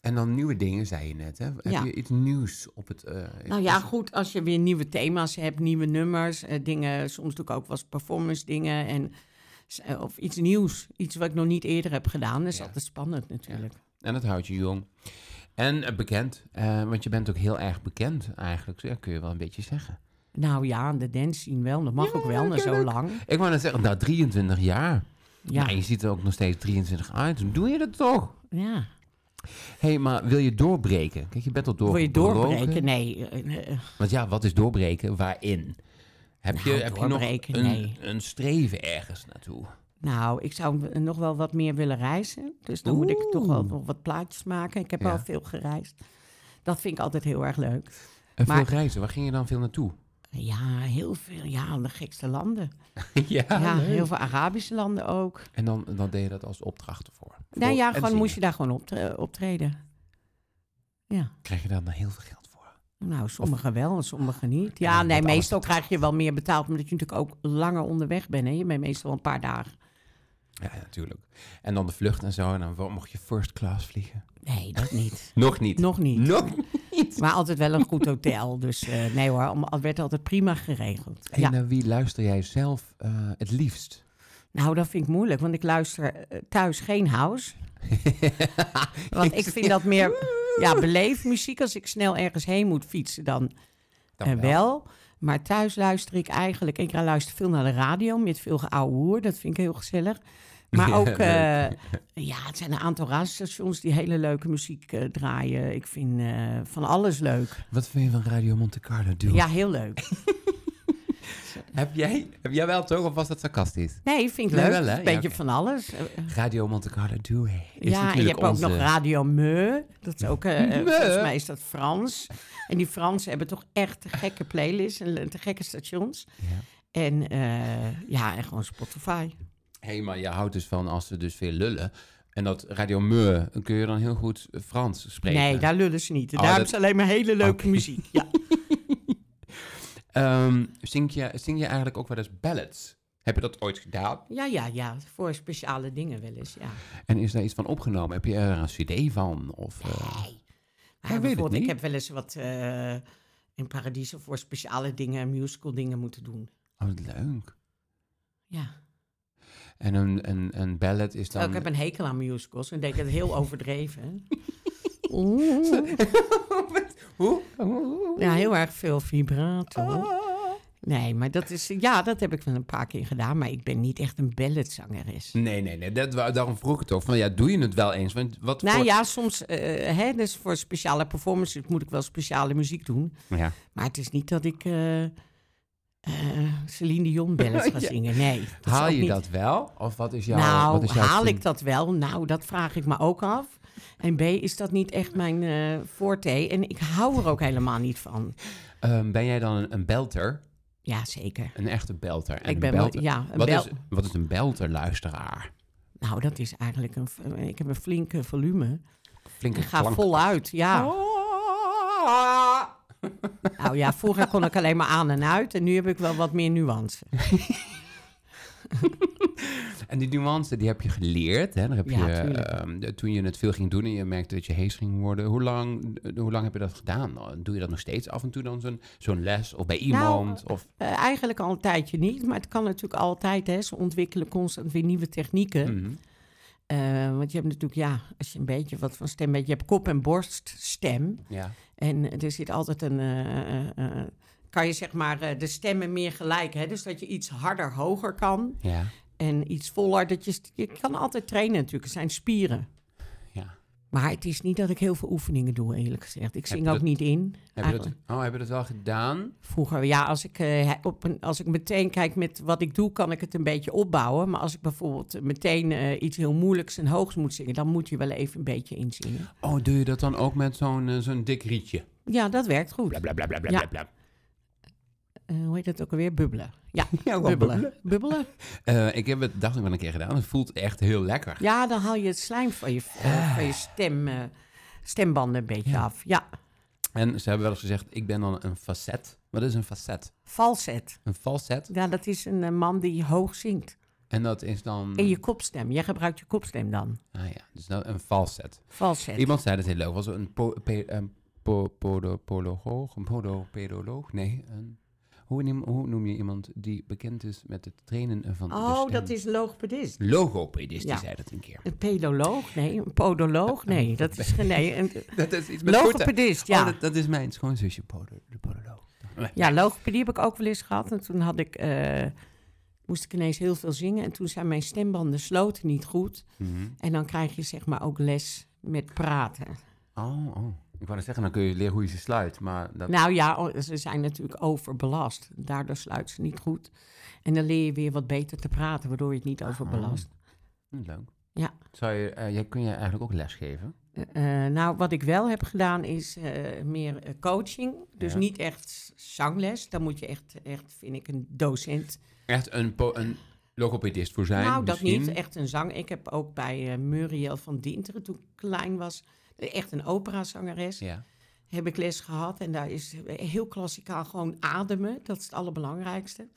S1: En dan nieuwe dingen, zei je net, hè? Heb
S2: Ja.
S1: je iets nieuws op het... eh,
S2: Nou ja, goed, als je weer nieuwe thema's hebt, nieuwe nummers, eh, dingen, soms natuurlijk ook wat performance dingen en s- eh, of iets nieuws, iets wat ik nog niet eerder heb gedaan, dat is
S1: Ja.
S2: altijd spannend natuurlijk.
S1: En dat houdt je jong. En eh, bekend, eh, want je bent ook heel erg bekend eigenlijk. Ja, kun je wel een beetje zeggen.
S2: Nou ja, de dance zien wel, dat mag
S1: Ja,
S2: ook wel na
S1: ken
S2: zo
S1: ik.
S2: lang.
S1: Ik wou net zeggen, nou 23 jaar.
S2: Ja,
S1: Maar je ziet er ook nog steeds 23 uit. Hoe doe je dat toch?
S2: ja.
S1: Hé, hey, maar wil je doorbreken? Kijk, je bent al
S2: Wil je
S1: doorgebroken.
S2: doorbreken? Nee. eh, eh,
S1: Want ja, wat is doorbreken? Waarin? Heb je,
S2: Nou,
S1: heb je nog
S2: doorbreken,
S1: een,
S2: nee.
S1: een streven ergens naartoe?
S2: Nou, ik zou m- nog wel wat meer willen reizen. Dus dan moet ik toch wel
S1: Oeh.
S2: nog wat plaatjes maken. Ik heb
S1: Ja.
S2: al veel gereisd. Dat vind ik altijd heel erg leuk.
S1: En
S2: Maar-
S1: veel reizen, waar ging je dan veel naartoe?
S2: Ja, heel veel. Ja, de gekste landen.
S1: ja,
S2: ja,
S1: Ah, leuk.
S2: heel veel Arabische landen ook.
S1: En dan, dan deed je dat als opdracht ervoor.
S2: Nou
S1: Voor-
S2: ja,
S1: en
S2: gewoon
S1: zingen.
S2: moest je daar gewoon optre- optreden. Ja,
S1: Krijg je daar dan heel veel geld voor?
S2: nou, sommigen wel en sommigen niet.
S1: Ja,
S2: Ja,
S1: je
S2: nee,
S1: hebt alles
S2: meestal krijg je wel meer betaald, omdat je natuurlijk ook langer onderweg bent. Hè? Je bent meestal wel een paar dagen.
S1: Ja, ja, natuurlijk. En dan de vlucht en zo. En dan wo- mocht je first class vliegen.
S2: Nee, dat niet.
S1: Nog niet.
S2: Nog niet.
S1: Nog niet.
S2: Maar altijd wel een goed hotel. Dus eh, nee hoor, om- het werd altijd prima geregeld.
S1: En
S2: Ja.
S1: naar wie luister jij zelf eh, het liefst?
S2: Nou, dat vind ik moeilijk, want ik luister eh, thuis geen house. Want ik vind dat meer ja, beleefmuziek. Als ik snel ergens heen moet fietsen, dan
S1: Dan
S2: Eh, wel. Maar thuis luister ik eigenlijk. Ik luister veel naar de radio met veel geouwehoer. Dat vind ik heel gezellig. Maar
S1: Ja,
S2: ook,
S1: leuk.
S2: eh, ja, het zijn een aantal radiostations die hele leuke muziek eh, draaien. Ik vind eh, van alles leuk.
S1: Wat vind je van Radio Monte Carlo, dude?
S2: Ja, heel leuk.
S1: Heb, jij, heb jij wel toch, of was dat sarcastisch?
S2: Nee, vind ik
S1: Nee,
S2: leuk.
S1: wel, hè?
S2: Een beetje
S1: Ja, oké.
S2: van alles. Eh,
S1: Radio Monte Carlo, dude. is
S2: ja, en je
S1: natuurlijk
S2: hebt ook
S1: onze-
S2: nog Radio Meu. Dat is ook, eh, eh,
S1: Meu?
S2: volgens mij is dat Frans. En die Fransen hebben toch echt te gekke playlists en te gekke stations.
S1: Ja.
S2: En eh, ja, en gewoon Spotify.
S1: Hé, maar je houdt dus van als ze dus veel lullen. En dat Radio Meur, kun je dan heel goed Frans spreken.
S2: Nee, daar lullen ze niet.
S1: Oh,
S2: daar
S1: dat-
S2: hebben ze alleen maar hele leuke
S1: Oké.
S2: muziek. Ja.
S1: Ehm, zing, je, zing je eigenlijk ook wel eens ballads? Heb je dat ooit gedaan?
S2: ja, ja, ja. Voor speciale dingen wel eens, ja.
S1: En is daar iets van opgenomen? Heb je er een cd van? Of, eh, weet
S2: Nee.
S1: het
S2: Maar bijvoorbeeld, ik
S1: niet.
S2: heb wel eens wat eh, in Paradiso voor speciale dingen, musical dingen moeten doen.
S1: Oh, wat leuk.
S2: Ja.
S1: En een, een, een ballad is
S2: Terwijl
S1: dan...
S2: ik heb een hekel aan musicals en denk dat heel overdreven. Oeh.
S1: Hoe? Oeh.
S2: Ja, heel erg veel vibrato.
S1: Ah.
S2: Nee, maar dat is... Ja, dat heb ik wel een paar keer gedaan. Maar ik ben niet echt een balletzangeres.
S1: Nee, nee, nee. Dat, wa- daarom vroeg ik het ook. Van, ja, doe je het wel eens? Want wat
S2: Nou
S1: voor...
S2: ja, soms... eh, hè, dus voor speciale performances moet ik wel speciale muziek doen.
S1: Ja.
S2: Maar het is niet dat ik eh, eh, Celine Dion ballads ga
S1: Ja.
S2: zingen. Nee. dat is
S1: Haal
S2: ook
S1: je
S2: niet-
S1: dat wel? Of wat is jouw...
S2: nou,
S1: wat is jouw
S2: haal
S1: tune?
S2: ik dat wel? Nou, dat vraag ik me ook af. En B, is dat niet echt mijn eh forte? En ik hou er ook helemaal niet van.
S1: Ehm, ben jij dan een, een belter?
S2: Ja, zeker.
S1: Een echte belter? En
S2: ik
S1: een
S2: ben
S1: belter.
S2: wel, ja, een
S1: wat,
S2: bel-
S1: is, wat is een belter luisteraar?
S2: Nou, dat is eigenlijk een... v- eh, Ik heb een flinke volume.
S1: Flinke
S2: Ik ga
S1: klank. Oh. Ah!
S2: voluit, ja. Nou ja, vroeger kon ik alleen maar aan en uit. En nu heb ik wel wat meer nuance.
S1: En die nuance, die heb je geleerd. Hè? Daar heb
S2: Ja,
S1: je,
S2: tuurlijk.
S1: ehm, de- toen je het veel ging doen en je merkte dat je hees ging worden. Hoe lang, eh, hoe lang heb je dat gedaan? Doe je dat nog steeds af en toe dan zo'n zo'n les? Of bij
S2: Nou,
S1: iemand? of,
S2: Eh, eigenlijk al een tijdje niet, maar het kan natuurlijk altijd. Hè, ze ontwikkelen constant weer nieuwe technieken.
S1: Mhm.
S2: Eh, want je hebt natuurlijk, ja, als je een beetje wat van stem weet, je hebt kop- en borststem.
S1: ja.
S2: En er zit altijd een. eh, eh, eh, kan je zeg maar eh, de stemmen meer gelijk, hè? Dus dat je iets harder, hoger kan
S1: Ja.
S2: en iets voller. Dat je, st- je kan altijd trainen natuurlijk, het zijn spieren.
S1: ja.
S2: Maar het is niet dat ik heel veel oefeningen doe, eerlijk gezegd. Ik zing
S1: je
S2: ook
S1: dat-
S2: niet in.
S1: Heb je, dat, oh, heb je dat wel gedaan?
S2: Vroeger, ja, als ik, eh, op een, als ik meteen kijk met wat ik doe, kan ik het een beetje opbouwen. Maar als ik bijvoorbeeld meteen eh, iets heel moeilijks en hoogs moet zingen, dan moet je wel even een beetje inzingen.
S1: Oh, doe je dat dan ook met zo'n eh, zo'n dik rietje?
S2: Ja, dat werkt goed.
S1: Bla, bla, bla, bla, bla,
S2: Ja.
S1: bla, bla.
S2: Eh, hoe heet dat ook alweer? Bubbelen. Ja,
S1: gewoon
S2: bubbelen. Bubbelen.
S1: Eh, ik heb het, dacht ik, wel een keer gedaan. Het voelt echt heel lekker.
S2: Ja, dan haal je het slijm van je, eh, van je stem, eh, stembanden een beetje
S1: Ah. Ja.
S2: af. Ja,
S1: En ze hebben wel eens gezegd, ik ben dan een facet. Wat is een facet?
S2: falset.
S1: Een falset.
S2: Ja, dat is een eh, man die hoog zingt.
S1: En dat is dan...
S2: En je kopstem. Jij gebruikt je kopstem dan.
S1: Ah ja, dus dat, een falset.
S2: Falset.
S1: Iemand zei dat heel leuk. Was er een, po, pe, een po, podo- pologoog, een podopedoloog? Nee, een... Hoe noem, hoe noem je iemand die bekend is met het trainen van de
S2: Oh,
S1: stem?
S2: dat is logopedist.
S1: Logopedist, die
S2: Ja.
S1: zei dat een keer.
S2: Een pedoloog? Nee, een podoloog? Nee, dat is geen... Nee, een,
S1: Dat is iets met voeten.
S2: logopedist,
S1: Oh,
S2: ja.
S1: dat, dat is mijn schoonzusje, podo, de podoloog.
S2: Ja, logopedie heb ik ook wel eens gehad. En toen had ik, eh, moest ik ineens heel veel zingen. En toen zijn mijn stembanden sloten niet goed.
S1: Mhm.
S2: En dan krijg je zeg maar ook les met praten.
S1: Oh, oh. Ik wou net zeggen, dan kun je leren hoe je ze sluit. Maar dat...
S2: Nou ja, o- ze zijn natuurlijk overbelast. Daardoor sluit ze niet goed. En dan leer je weer wat beter te praten, waardoor je het niet overbelast.
S1: Hm, Leuk.
S2: Ja.
S1: Zou je, eh, jij, kun je eigenlijk ook lesgeven?
S2: Eh, eh, nou, wat ik wel heb gedaan is eh, meer eh, coaching. Dus
S1: Ja.
S2: niet echt zangles. Dan moet je echt, echt vind ik, een docent
S1: Echt een, po- een logopedist voor zijn?
S2: Nou, dat
S1: misschien?
S2: niet. Echt een zang. Ik heb ook bij eh, Muriel van Dinteren, toen ik klein was, echt een operazangeres,
S1: Ja.
S2: heb ik les gehad. En daar is heel klassikaal gewoon ademen. Dat is het allerbelangrijkste.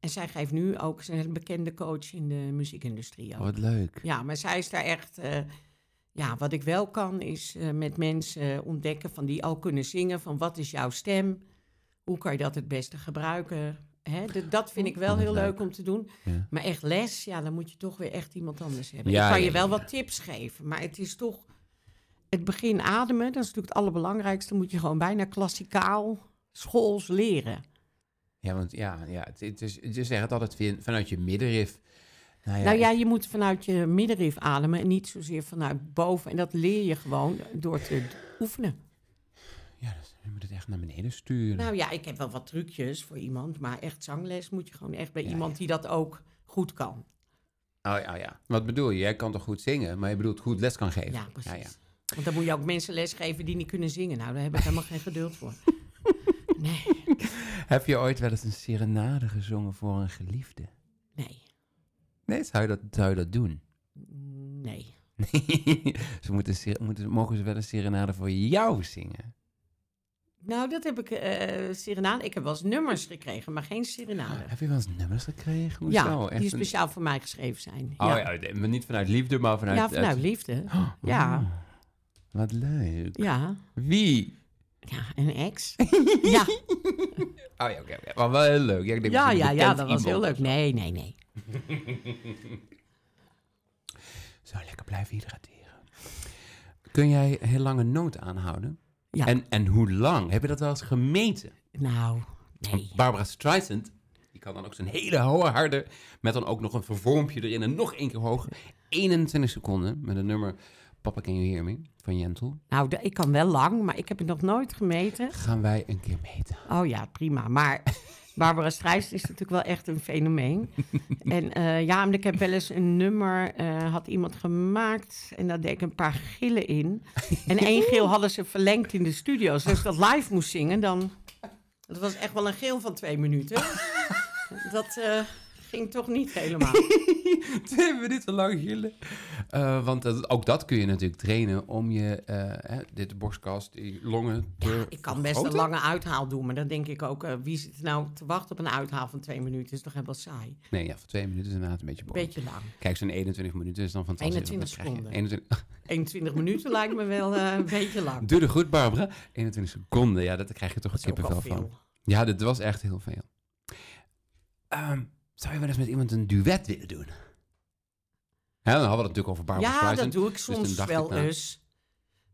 S2: En zij geeft nu ook, ze is een bekende coach in de muziekindustrie ook.
S1: Wat leuk.
S2: Ja, maar zij is daar echt... eh, ja, wat ik wel kan is eh, met mensen eh, ontdekken van die al kunnen zingen. Van wat is jouw stem? Hoe kan je dat het beste gebruiken? Hè, d- dat vind ik wel
S1: Wat
S2: heel
S1: leuk.
S2: leuk om te doen.
S1: Ja.
S2: Maar echt les, ja, dan moet je toch weer echt iemand anders hebben.
S1: Ja,
S2: ik kan
S1: ja,
S2: je wel
S1: ja.
S2: wat tips geven, maar het is toch... Het begin ademen, dat is natuurlijk het allerbelangrijkste. Moet je gewoon bijna klassikaal schools leren.
S1: Ja, want ja, ja het, het is, je zegt het altijd via- vanuit je middenrif.
S2: nou ja,
S1: ik-
S2: je moet vanuit je middenrif ademen en niet zozeer vanuit boven. En dat leer je gewoon door te oefenen.
S1: ja dus je moet het echt naar beneden sturen.
S2: Nou ja, ik heb wel wat trucjes voor iemand, maar echt zangles moet je gewoon echt bij
S1: Ja,
S2: iemand die dat ook goed kan.
S1: oh ja, ja. Wat bedoel je? Jij kan toch goed zingen, maar je bedoelt goed les kan geven.
S2: Ja, precies.
S1: Ja, ja.
S2: Want dan moet je ook mensen lesgeven die niet kunnen zingen. Nou, daar heb ik helemaal geen geduld voor. Nee,
S1: Heb je ooit wel eens een serenade gezongen voor een geliefde?
S2: nee,
S1: Nee, zou je dat, zou je dat doen?
S2: nee.
S1: ze moeten, ser- moeten, mogen ze wel een serenade voor jou zingen?
S2: Nou, dat heb ik eh serenade. Ik heb wel eens nummers gekregen, maar geen serenade.
S1: Ah, Heb je wel eens nummers gekregen? Hoezo?
S2: Nou, ja,
S1: Echt
S2: die
S1: een-
S2: speciaal voor mij geschreven zijn.
S1: Oh
S2: ja.
S1: ja, nee, maar niet vanuit liefde, maar vanuit...
S2: Ja, vanuit liefde. Ja.
S1: Oh, wat leuk.
S2: Ja.
S1: Wie?
S2: ja, een ex. ja,
S1: Oh ja, oké. oké. Maar wel heel leuk. Ja, ik denk
S2: ja,
S1: misschien
S2: ja,
S1: een
S2: ja,
S1: bekend
S2: dat was heel
S1: iemand.
S2: leuk. Nee, nee, nee.
S1: Zo lekker blijven hydrateren. Kun jij heel lang een noot aanhouden?
S2: Ja.
S1: En, en hoe lang? Heb je dat wel eens gemeten?
S2: Nou, nee.
S1: Barbara Streisand, die kan dan ook zo'n hele hoge harde, met dan ook nog een vervormpje erin en nog één keer hoog. 21 seconden met het nummer Papa Can You Hear Me van Jentel.
S2: Nou, de- ik kan wel lang, maar ik heb het nog nooit gemeten.
S1: Gaan wij een keer meten.
S2: Oh ja, prima. Maar Barbara Streisand is natuurlijk wel echt een fenomeen. En eh, ja, en ik heb wel eens een nummer, eh, had iemand gemaakt en daar deed ik een paar gillen in. En één gil hadden ze verlengd in de studio. Dus als ik dat live moest zingen, dan... Dat was echt wel een gil van twee minuten. Dat eh, ging toch niet helemaal.
S1: Twee minuten lang gillen. Eh, want dat- ook dat kun je natuurlijk trainen om je, eh, hè, dit borstkast, die longen te
S2: Ik kan best een
S1: vergroten.
S2: lange uithaal doen, maar dan denk ik ook... eh, wie zit nou te wachten op een uithaal van twee minuten? Is toch helemaal saai.
S1: Nee, ja, voor twee minuten is inderdaad een beetje boring.
S2: Beetje lang.
S1: Kijk, zo'n 21 minuten is dan fantastisch. want dan
S2: 21
S1: krijg je
S2: seconden.
S1: 21
S2: 21 minuten lijkt me wel eh, een beetje lang.
S1: Doe het goed, Barbara. 21 seconden, ja, dat krijg je toch een
S2: Dat is ook
S1: kippenvel
S2: al
S1: van.
S2: veel.
S1: Ja, dit was echt heel veel. Ehm, zou je wel eens met iemand een duet willen doen? Hè, dan hadden we het natuurlijk over Barbara
S2: Ja, dat
S1: Streisand.
S2: doe ik
S1: dan
S2: soms
S1: dacht ik,
S2: wel
S1: nou-
S2: eens.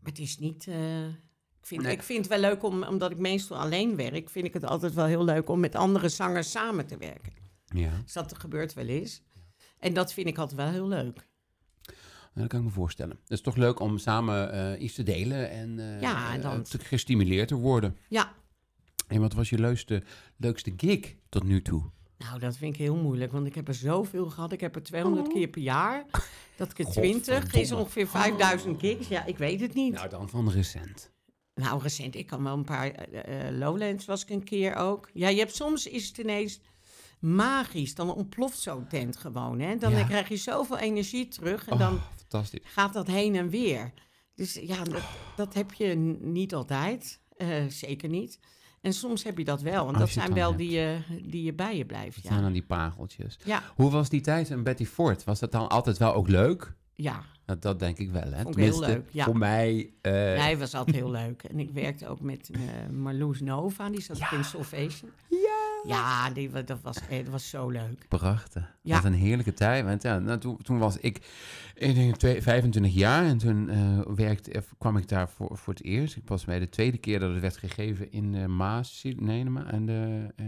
S2: Maar het is niet... eh, ik, vind,
S1: Nee.
S2: ik vind het wel leuk, om, omdat ik meestal alleen werk... vind ik het altijd wel heel leuk om met andere zangers samen te werken.
S1: Ja,
S2: Dus dat gebeurt wel eens. En dat vind ik altijd wel heel leuk.
S1: dat kan ik me voorstellen. Het is toch leuk om samen eh, iets te delen en, eh,
S2: Ja, en dan-
S1: eh, te gestimuleerd te worden.
S2: Ja,
S1: En wat was je leukste, leukste gig tot nu toe?
S2: nou, dat vind ik heel moeilijk, want ik heb er zoveel gehad. Ik heb er 200 keer per jaar. Dat keer 20 is
S1: Oh. Godverdomme.
S2: ongeveer 5000 gigs. Ja, ik weet het niet.
S1: Nou, dan van recent.
S2: Nou, recent, ik kan wel een paar. eh, eh, Lowlands was ik een keer ook. Ja, je hebt soms is het ineens magisch. Dan ontploft zo'n tent gewoon. Hè? Dan
S1: Ja.
S2: krijg je zoveel energie terug en
S1: Oh,
S2: dan
S1: fantastisch.
S2: gaat dat heen en weer. Dus ja, dat, dat heb je n- niet altijd. Eh, zeker niet. En soms heb je dat wel. En
S1: Als
S2: dat
S1: je het
S2: zijn
S1: dan
S2: wel die, je die je bij je blijft.
S1: Het zijn
S2: Ja.
S1: dan die pareltjes.
S2: Ja,
S1: Hoe was die tijd in Betty Ford? Was dat dan altijd wel ook leuk?
S2: ja.
S1: Dat, dat denk ik wel, hè?
S2: Vond ik heel
S1: Tenminste,
S2: leuk, ja.
S1: Voor mij... eh,
S2: Nee, hij was altijd heel leuk. En ik werkte ook met eh, Marloes Nova. Die zat ook in Solvation.
S1: Ja!
S2: Ja, die, wa- dat, was, eh, dat was zo leuk.
S1: Prachtig.
S2: Ja.
S1: Wat een heerlijke tijd. Want ja, nou, toen, toen was ik, ik denk, twee- 25 jaar en toen eh, werkte, eh, kwam ik daar voor, voor het eerst. Ik was bij de tweede keer dat het werd gegeven in de Maas, nee, de Ma- en de, eh,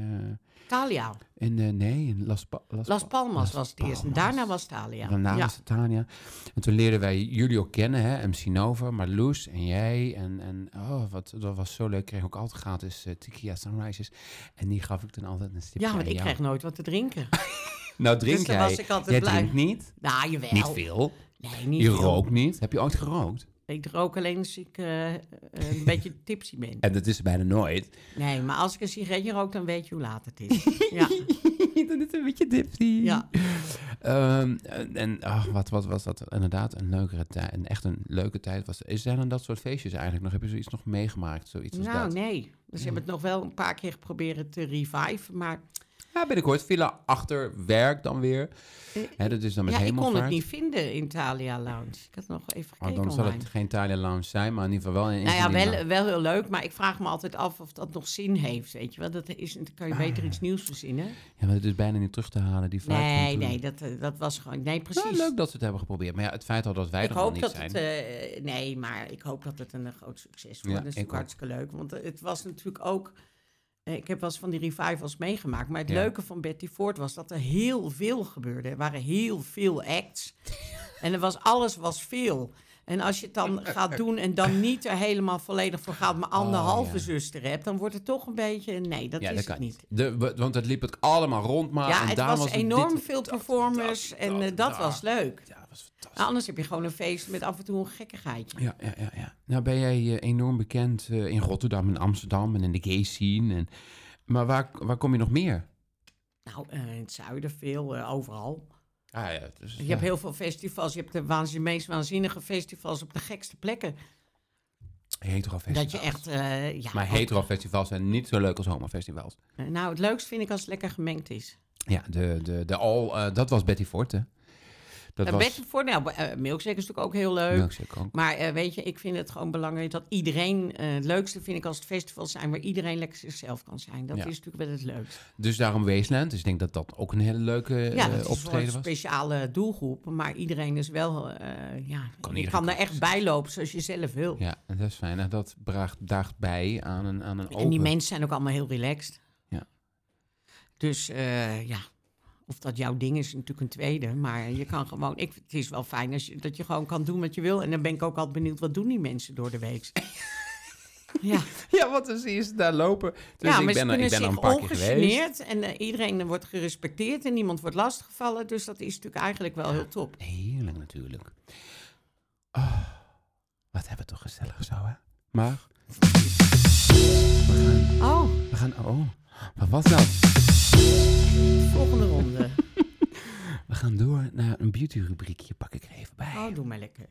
S2: Taliaal.
S1: En eh, nee, in Las, Pa-
S2: Las Palmas was het eerst. En daarna
S1: Palmas.
S2: was het Thalia.
S1: Daarna
S2: ja.
S1: was het Tania. En toen leerden wij jullie ook kennen, hè? MC Nova, maar Loes en jij. En, en oh, wat, dat was zo leuk. Ik kreeg ook altijd gratis eh, Tequila Sunrises. En die gaf ik dan altijd een stipje
S2: ja, want
S1: aan
S2: ik
S1: jou.
S2: krijg nooit wat te drinken.
S1: Nou, drink
S2: dus daar
S1: jij.
S2: was ik altijd
S1: jij
S2: blij.
S1: drinkt niet.
S2: nou, jawel.
S1: Niet veel.
S2: Nee, niet
S1: je
S2: veel.
S1: rookt niet. Heb je ooit gerookt?
S2: Ik rook alleen als ik eh, eh, een beetje tipsy ben.
S1: En dat is bijna nooit.
S2: Nee, maar als ik een sigaretje rook, dan weet je hoe laat het is. Ja,
S1: dan is een beetje dipsy.
S2: ja.
S1: Ehm, en en, ah, wat, wat was dat? Inderdaad, een leukere tijd. En echt een leuke tijd was. Is er dan dat soort feestjes eigenlijk nog? Heb je zoiets nog meegemaakt? Zoiets als
S2: nou
S1: dat?
S2: nee. Dus we hebben het nog wel een paar keer proberen te reviven, maar
S1: Ja, binnenkort. Villa achter werk dan weer.
S2: Eh,
S1: Hè, dat is dan met
S2: ja, ik kon het
S1: hemelvaart.
S2: niet vinden in Thalia Lounge. Ik had nog even
S1: Maar
S2: gekeken
S1: dan zal
S2: online.
S1: het geen Thalia Lounge zijn, maar in ieder geval wel een
S2: Nou ja,
S1: Indian
S2: wel, wel heel leuk, maar ik vraag me altijd af of dat nog zin heeft, weet je wel. Dat is, dan kan je beter
S1: Ah.
S2: iets nieuws verzinnen.
S1: Lounge. Ja, maar het is bijna niet terug te halen, die vaak.
S2: Nee, nee, dat, eh, dat was gewoon... Nee, precies.
S1: Nou, leuk dat ze het hebben geprobeerd. Maar ja, het feit al dat wij
S2: ik
S1: er al
S2: hoop
S1: niet
S2: dat
S1: zijn.
S2: het... eh, nee, maar ik hoop dat het een eh, groot succes
S1: Ja,
S2: wordt. dat is
S1: ik
S2: natuurlijk
S1: ook.
S2: hartstikke leuk. Want eh, het was natuurlijk ook... eh, ik heb wel eens van die revivals meegemaakt. Maar het
S1: Ja.
S2: leuke van Betty Ford was dat er heel veel gebeurde. Er waren heel veel acts. en er was, alles was veel. En als je het dan gaat doen en dan niet er helemaal volledig voor gaat... maar anderhalve
S1: Oh, ja.
S2: zuster hebt, dan wordt het toch een beetje... Nee, dat
S1: ja,
S2: is
S1: dat
S2: het
S1: kan
S2: niet.
S1: niet. De, wa- want het liep het allemaal rond, maar.
S2: Ja,
S1: en
S2: het
S1: daar
S2: was,
S1: was het
S2: enorm
S1: dit-
S2: veel performers
S1: dat,
S2: en eh,
S1: dat,
S2: dat,
S1: dat.
S2: was leuk.
S1: Ja, dat was fantastisch.
S2: Nou, anders heb je gewoon een feest met af en toe een gekkigheidje.
S1: Ja, ja, ja, ja. Nou ben jij eh, enorm bekend eh, in Rotterdam en Amsterdam en in de gay scene. En, maar waar, waar kom je nog meer?
S2: Nou, eh, in het zuiden veel, eh, overal.
S1: Ah, ja, dus,
S2: Je hebt heel veel festivals. Je hebt de waanzin, meest waanzinnige festivals op de gekste plekken. Dat je echt... eh, ja,
S1: nou Maar
S2: ook-
S1: heterofestivals zijn niet zo leuk als homofestivals.
S2: eh, nou, het leukst vind ik als het lekker gemengd is.
S1: Ja, de, de, de all, eh, dat was Betty Ford, hè? Dat
S2: Dat
S1: was
S2: best voor, nou, eh, Milkshake is natuurlijk ook heel leuk.
S1: Milkshake ook.
S2: Maar eh, weet je, ik vind het gewoon belangrijk dat iedereen... eh, het leukste vind ik als het festivals zijn waar iedereen lekker zichzelf kan zijn. Dat
S1: Ja.
S2: is natuurlijk wel het leukst.
S1: Dus daarom Wasteland. Dus ik denk dat dat ook een hele leuke eh,
S2: Ja, dat is voor een
S1: optreden was.
S2: speciale doelgroep. Maar iedereen is wel... eh, ja, je
S1: iedereen
S2: kan er
S1: komen.
S2: echt bij lopen zoals je zelf wil.
S1: Ja, en dat is fijn. En dat draagt, draagt bij aan een, aan een open...
S2: En die mensen zijn ook allemaal heel relaxed.
S1: Ja.
S2: Dus eh, ja, of dat jouw ding is, is natuurlijk een tweede. Maar je kan gewoon, ik, het is wel fijn als je, dat je gewoon kan doen wat je wil. En dan ben ik ook altijd benieuwd, wat doen die mensen door de week? ja,
S1: Ja, want dan zie je ze daar lopen. Dus
S2: ja
S1: ik
S2: maar ze
S1: ben, er,
S2: kunnen
S1: ik ben er
S2: zich
S1: een paar keer geweest.
S2: ongegeneerd. En eh, iedereen wordt gerespecteerd en niemand wordt lastiggevallen. Dus dat is natuurlijk eigenlijk wel heel top.
S1: Heerlijk natuurlijk. Oh, wat hebben we toch gezellig zo, hè? Maar... We gaan...
S2: Oh,
S1: We gaan oh, wat was dat?
S2: volgende ronde.
S1: We gaan door naar een beauty-rubriekje. Pak ik er even bij.
S2: Oh, doe maar lekker.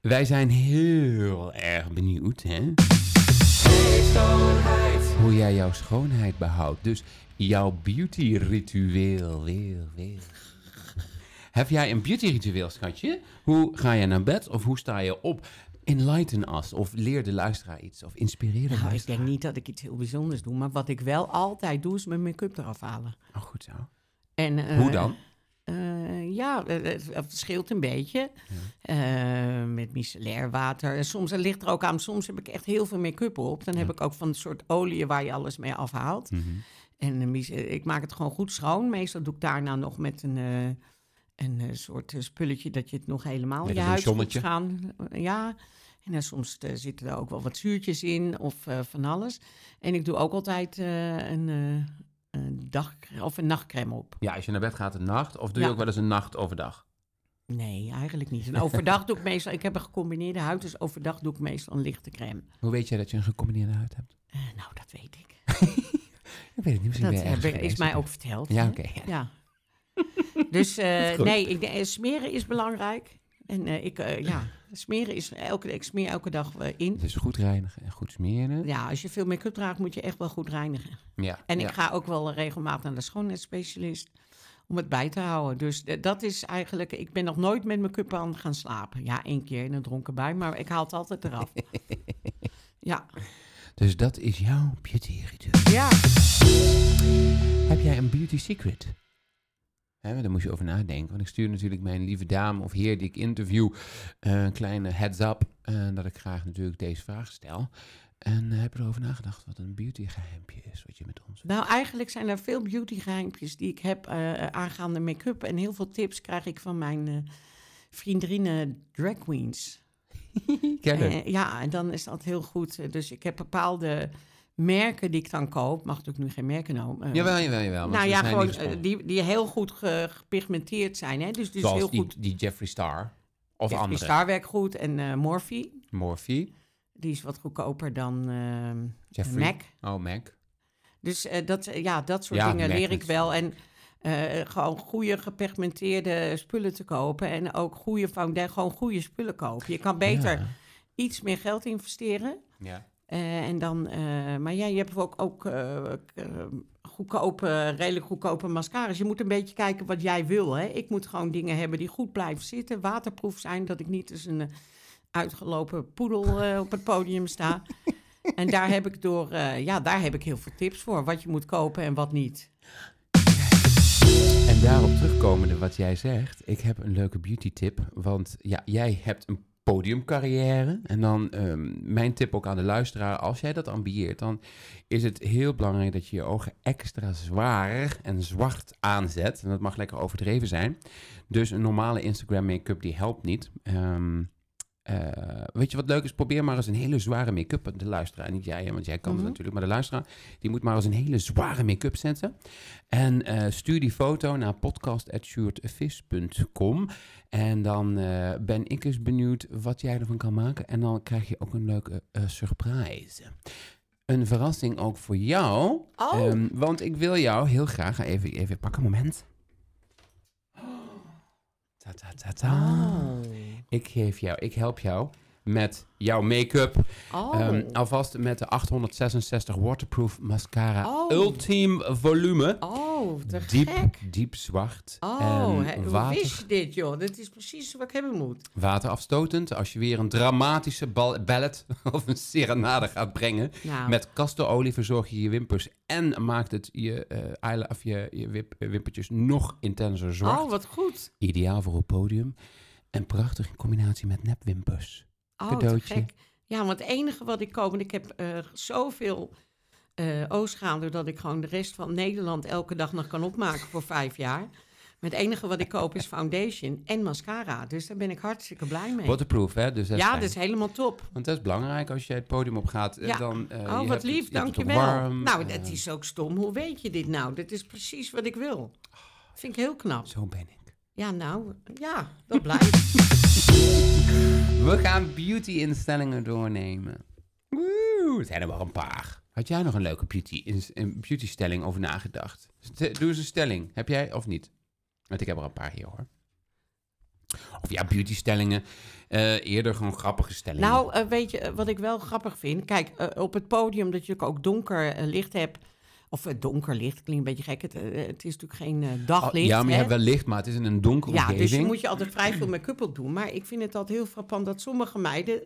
S1: Wij zijn heel erg benieuwd, hè? Hoe jij jouw schoonheid behoudt. Dus jouw beauty-ritueel. Weer, weer. Heb jij een beauty-ritueel, schatje? Hoe ga je naar bed of hoe sta je op? Enlighten us. Of leer de luisteraar iets. Of inspireer de
S2: Nou, ik
S1: luisteraar.
S2: denk niet dat ik iets heel bijzonders doe. Maar wat ik wel altijd doe, is mijn make-up eraf halen.
S1: Oh, goed zo.
S2: En, eh,
S1: hoe dan?
S2: eh, ja, eh, het het verschilt een beetje. Eh, met micellair water. En Soms het ligt er ook aan. Soms heb ik echt heel veel make-up op. Dan heb ik ook van een soort olie waar je alles mee afhaalt.
S1: Mhm.
S2: En eh, mis- eh, ik maak het gewoon goed schoon. Meestal doe ik daarna nog met een, eh, een eh, soort eh, spulletje dat je het nog helemaal
S1: Met
S2: in je
S1: een
S2: huid moet
S1: zonnetje.
S2: gaan. Ja. En dan soms eh, zitten er ook wel wat zuurtjes in of eh, van alles. En ik doe ook altijd eh, een, eh, een dag of een nachtcreme op.
S1: Ja, als je naar bed gaat een nacht. Of doe je
S2: Ja.
S1: ook wel eens een nacht overdag?
S2: Nee, eigenlijk niet. En overdag doe ik meestal, ik heb een gecombineerde huid, dus overdag doe ik meestal een lichte crème.
S1: Hoe weet jij dat je een gecombineerde huid hebt?
S2: Eh, nou, dat weet ik.
S1: Ik weet het niet. Misschien
S2: Dat
S1: ben je ergens
S2: heb ik, is
S1: geweest.
S2: mij ook verteld.
S1: Ja,
S2: hè?
S1: oké. ja.
S2: Ja. Dus eh,
S1: goed.
S2: nee, ik, denk, eh, smeren is belangrijk. En eh, ik, eh, ja, smeren is elke, ik smeer elke dag eh, in.
S1: Dus goed reinigen en goed smeren.
S2: Ja, als je veel make-up draagt, moet je echt wel goed reinigen.
S1: Ja.
S2: En
S1: ja.
S2: ik ga ook wel regelmatig naar de schoonheidsspecialist om het bij te houden. Dus eh, dat is eigenlijk, ik ben nog nooit met mijn cup aan gaan slapen. Ja, één keer in een dronken bui, maar ik haal het altijd eraf. ja.
S1: Dus dat is jouw beauty ritueel.
S2: ja.
S1: Heb jij een beauty secret? Hè, maar daar moest je over nadenken. Want ik stuur natuurlijk mijn lieve dame of heer die ik interview eh, een kleine heads up. eh, dat ik graag natuurlijk deze vraag stel. En eh, heb je erover nagedacht wat een beautygeheimpje is, wat je met ons...
S2: Nou, eigenlijk zijn er veel beautygeheimpjes die ik heb eh, aangaande make-up. En heel veel tips krijg ik van mijn eh, vriendinnen drag queens.
S1: Kennen.
S2: Eh, ja, en dan is dat heel goed. Eh, Dus ik heb bepaalde merken die ik dan koop. Mag natuurlijk nu geen merken noemen. eh,
S1: Jawel, jawel, jawel. Ah, want
S2: nou
S1: we
S2: ja,
S1: zijn
S2: gewoon
S1: niet gesponsord.
S2: eh, die, die heel goed ge- gepigmenteerd zijn. Hè? Dus, dus
S1: Zoals
S2: heel
S1: die,
S2: goed.
S1: die Jeffree Star. Of
S2: Ja,
S1: andere.
S2: Star werkt goed. En eh Morphe,
S1: Morphe.
S2: die is wat goedkoper dan ehm
S1: Jeffree.
S2: MAC.
S1: Oh, Mac.
S2: Dus eh, dat, eh, ja, dat soort
S1: Ja,
S2: dingen
S1: merk
S2: leer ik
S1: het.
S2: wel. En eh, gewoon goede gepigmenteerde spullen te kopen. En ook goede foundation, gewoon goede spullen kopen. Je kan beter
S1: Ja.
S2: iets meer geld investeren.
S1: Ja.
S2: Eh, en dan, eh, maar ja, je hebt ook, ook eh, k- eh, goedkope, redelijk goedkope mascara's. Je moet een beetje kijken wat jij wil. Hè? Ik moet gewoon dingen hebben die goed blijven zitten, waterproef zijn, dat ik niet als een eh, uitgelopen poedel eh, op het podium sta. en daar heb ik door, eh, ja, daar heb ik heel veel tips voor. Wat je moet kopen en wat niet.
S1: En daarop terugkomende wat jij zegt, ik heb een leuke beauty tip. Want ja, jij hebt een podiumcarrière. En dan ehm, mijn tip ook aan de luisteraar, als jij dat ambieert, dan is het heel belangrijk dat je je ogen extra zwaar en zwart aanzet. En dat mag lekker overdreven zijn. Dus een normale Instagram make-up die helpt niet. Ehm, eh, weet je wat leuk is? Probeer maar eens een hele zware make-up. De luisteraar, niet jij, hè, want jij kan het
S2: Mhm.
S1: natuurlijk. Maar de luisteraar, die moet maar eens een hele zware make-up zetten. En eh, stuur die foto naar podcast.sjoerdvis.com. En dan eh, ben ik eens benieuwd wat jij ervan kan maken. En dan krijg je ook een leuke eh, surprise. Een verrassing ook voor jou.
S2: Oh,
S1: Ehm, want ik wil jou heel graag... Even, even pak een moment. Ta, ta, ta, ta.
S2: Ah.
S1: Oh. Ik geef jou, ik help jou met jouw make-up.
S2: oh.
S1: Ehm, alvast met de 866 waterproof mascara.
S2: Oh.
S1: Ultiem volume.
S2: oh, te
S1: Diep,
S2: gek.
S1: diep zwart.
S2: Oh, hè,
S1: en
S2: hoe
S1: water,
S2: wist je dit, joh? Dat is precies wat ik hebben moet.
S1: waterafstotend. Als je weer een dramatische bal- ballet of een serenade gaat brengen.
S2: Nou,
S1: Met castorolie verzorg je je wimpers. En maakt het je, eh, eyel- of je, je wip- eh, wimpertjes nog intenser zwart.
S2: oh, wat goed.
S1: Ideaal voor op podium. En prachtig in combinatie met nepwimpers.
S2: Oh,
S1: Cadeautje.
S2: te gek. Ja, want het enige wat ik koop, want ik heb eh, zoveel eh oogschaduw dat ik gewoon de rest van Nederland elke dag nog kan opmaken voor vijf jaar. Maar het enige wat ik koop is foundation en mascara. Dus daar ben ik hartstikke blij mee.
S1: Waterproof, hè? Dus dat is
S2: ja,
S1: fijn.
S2: dat is helemaal top.
S1: Want dat is belangrijk als jij het podium op gaat. eh,
S2: Ja.
S1: Dan, eh,
S2: oh,
S1: je
S2: wat
S1: hebt het-
S2: lief,
S1: je hebt het ook
S2: dankjewel.
S1: warm,
S2: nou,
S1: eh,
S2: dat is ook stom. Hoe weet je dit nou? Dat is precies wat ik wil. Vind ik heel knap.
S1: Zo ben ik.
S2: Ja, nou, ja, dat blijft.
S1: We gaan beauty-instellingen doornemen. Woe, het zijn er wel een paar. Had jij nog een leuke beauty- ins- een beauty-stelling over nagedacht? St- Doe eens een stelling. Heb jij of niet? Want ik heb er een paar hier hoor. Of ja, beauty-stellingen. Eh, eerder gewoon grappige stellingen.
S2: Nou, eh, weet je, eh, wat ik wel grappig vind? Kijk, eh, op het podium dat je ook donker eh, licht hebt. Of eh, donker licht, klinkt een beetje gek. Het, eh, het is natuurlijk geen eh,
S1: Oh,
S2: daglicht.
S1: ja, maar je
S2: hè?
S1: hebt wel licht, maar het is in een donkere
S2: ja,
S1: omgeving.
S2: dus je moet je altijd vrij veel make-up op doen. Maar ik vind het altijd heel frappant dat sommige meiden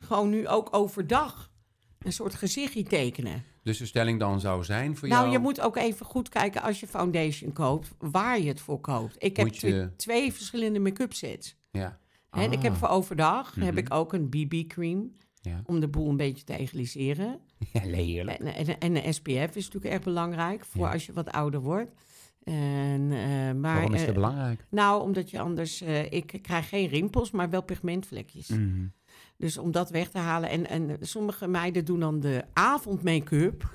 S2: gewoon nu ook overdag een soort gezichtje tekenen.
S1: Dus de stelling dan zou zijn voor jou...
S2: Nou, je moet ook even goed kijken als je foundation koopt, waar je het voor koopt. Ik heb
S1: Moet je-
S2: tw- twee verschillende make-up sets.
S1: Ja.
S2: Hè, en Ik heb
S1: Ah,
S2: voor overdag heb
S1: Mhm.
S2: ik ook een BB-cream
S1: Ja.
S2: om de boel een beetje te egaliseren.
S1: ja, leerlijk.
S2: En, en, en de SPF is natuurlijk erg belangrijk voor
S1: Ja.
S2: als je wat ouder wordt. En, eh, maar,
S1: Waarom is
S2: eh,
S1: dat belangrijk?
S2: Nou, omdat je anders... eh, ik krijg geen rimpels, maar wel pigmentvlekjes.
S1: Mhm.
S2: Dus om dat weg te halen... En, en sommige meiden doen dan de
S1: Oh,
S2: avondmake-up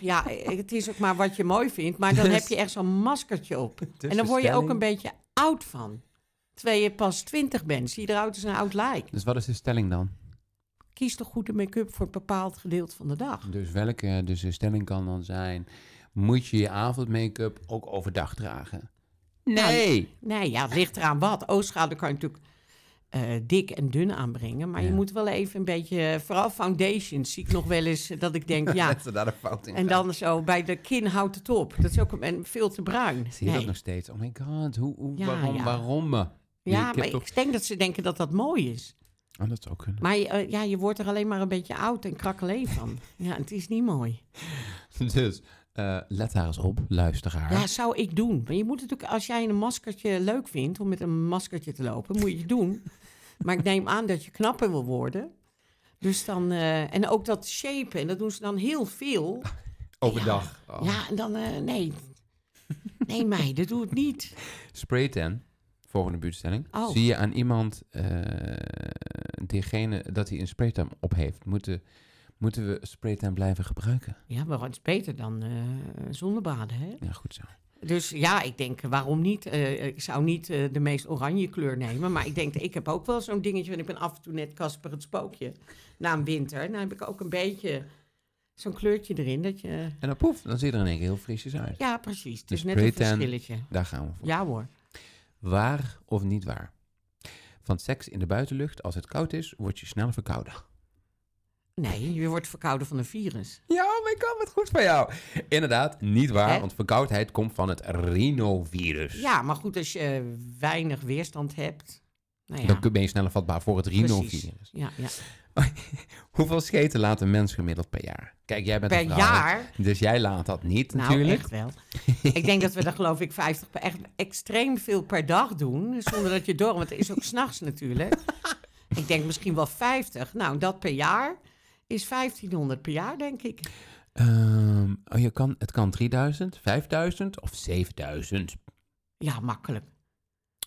S2: Ja, eh, het is ook maar wat je mooi vindt. Maar dan
S1: Dus-
S2: heb je echt zo'n maskertje op.
S1: Dus
S2: en dan
S1: de
S2: word je ook
S1: stelling-
S2: een beetje oud van. Terwijl je pas twintig bent. Zie je eruit als een oud lijk.
S1: Dus wat is de stelling dan?
S2: Kies toch goed de make-up voor een bepaald gedeelte van de dag.
S1: Dus welke dus de stelling kan dan zijn... moet je je avondmake-up ook overdag dragen? Nee!
S2: Nee, ja, het ligt eraan wat. Oogschaduw kan je natuurlijk eh, dik en dun aanbrengen. Maar
S1: Ja.
S2: je moet wel even een beetje... eh, Vooral foundations zie ik nog wel eens eh, dat ik denk, ja...
S1: ze daar een fout in
S2: En dan zo bij de kin houdt het op. Dat is ook een, en veel te bruin.
S1: Zie je
S2: Nee.
S1: dat nog steeds? Oh my god, hoe, hoe,
S2: Ja,
S1: waarom,
S2: ja.
S1: waarom? eh? me?
S2: Ja,
S1: ik heb
S2: maar
S1: toch-
S2: ik denk dat ze denken dat dat mooi is.
S1: Oh, dat zou kunnen.
S2: Maar eh, ja, je wordt er alleen maar een beetje oud en krakkelee van. Ja, het is niet mooi.
S1: Dus, eh, let daar eens op, luisteraar.
S2: Ja, zou ik doen. Maar je moet natuurlijk, als jij een maskertje leuk vindt om met een maskertje te lopen, moet je het doen. Maar ik neem aan dat je knapper wil worden. Dus dan, eh, en ook dat shapen, dat doen ze dan heel veel.
S1: Overdag. Oh.
S2: Ja, en dan, eh, nee. Nee, meiden, doe het niet.
S1: Spray tan, volgende buurtstelling.
S2: Oh.
S1: Zie je aan iemand eh, diegene dat hij een spraytan op heeft. Moeten, moeten we spraytan blijven gebruiken?
S2: Ja, maar wat is beter dan eh zonnebaden, hè?
S1: Ja, goed zo.
S2: Dus ja, ik denk, waarom niet? Eh, ik zou niet eh, de meest oranje kleur nemen. Maar ik denk, ik heb ook wel zo'n dingetje. Want ik ben af en toe net Casper het Spookje. Na een winter. Dan heb ik ook een beetje zo'n kleurtje erin. Dat je,
S1: En dan poef, dan zie je er in één keer heel frisjes uit.
S2: ja, precies. Het
S1: Dus
S2: is net een
S1: pretend.
S2: verschilletje.
S1: Daar gaan we voor.
S2: Ja hoor.
S1: Waar of niet waar? Van seks in de buitenlucht, als het koud is, word je snel verkouden.
S2: Nee, je wordt verkouden van een virus.
S1: Ja, oh my god, wat goed van jou. Inderdaad, niet waar,
S2: Hè?
S1: want verkoudheid komt van het rhinovirus.
S2: Ja, maar goed, als je eh, weinig weerstand hebt. Nou ja,
S1: Dan kun- ben je sneller vatbaar voor het
S2: precies.
S1: rhinovirus.
S2: Ja, ja.
S1: Hoeveel scheten laat een mens gemiddeld per jaar? Kijk, jij bent
S2: Per
S1: een vrouw,
S2: jaar.
S1: Dus jij laat dat niet,
S2: Nou,
S1: natuurlijk.
S2: echt wel. ik denk dat we er geloof ik 50 per, echt extreem veel per dag doen. Zonder dat je door, want het is ook s'nachts natuurlijk. ik denk misschien wel 50. Nou, dat per jaar is 1500 per jaar, denk ik.
S1: Ehm, oh, je kan, het kan 3000, 5000 of 7000.
S2: Ja, makkelijk.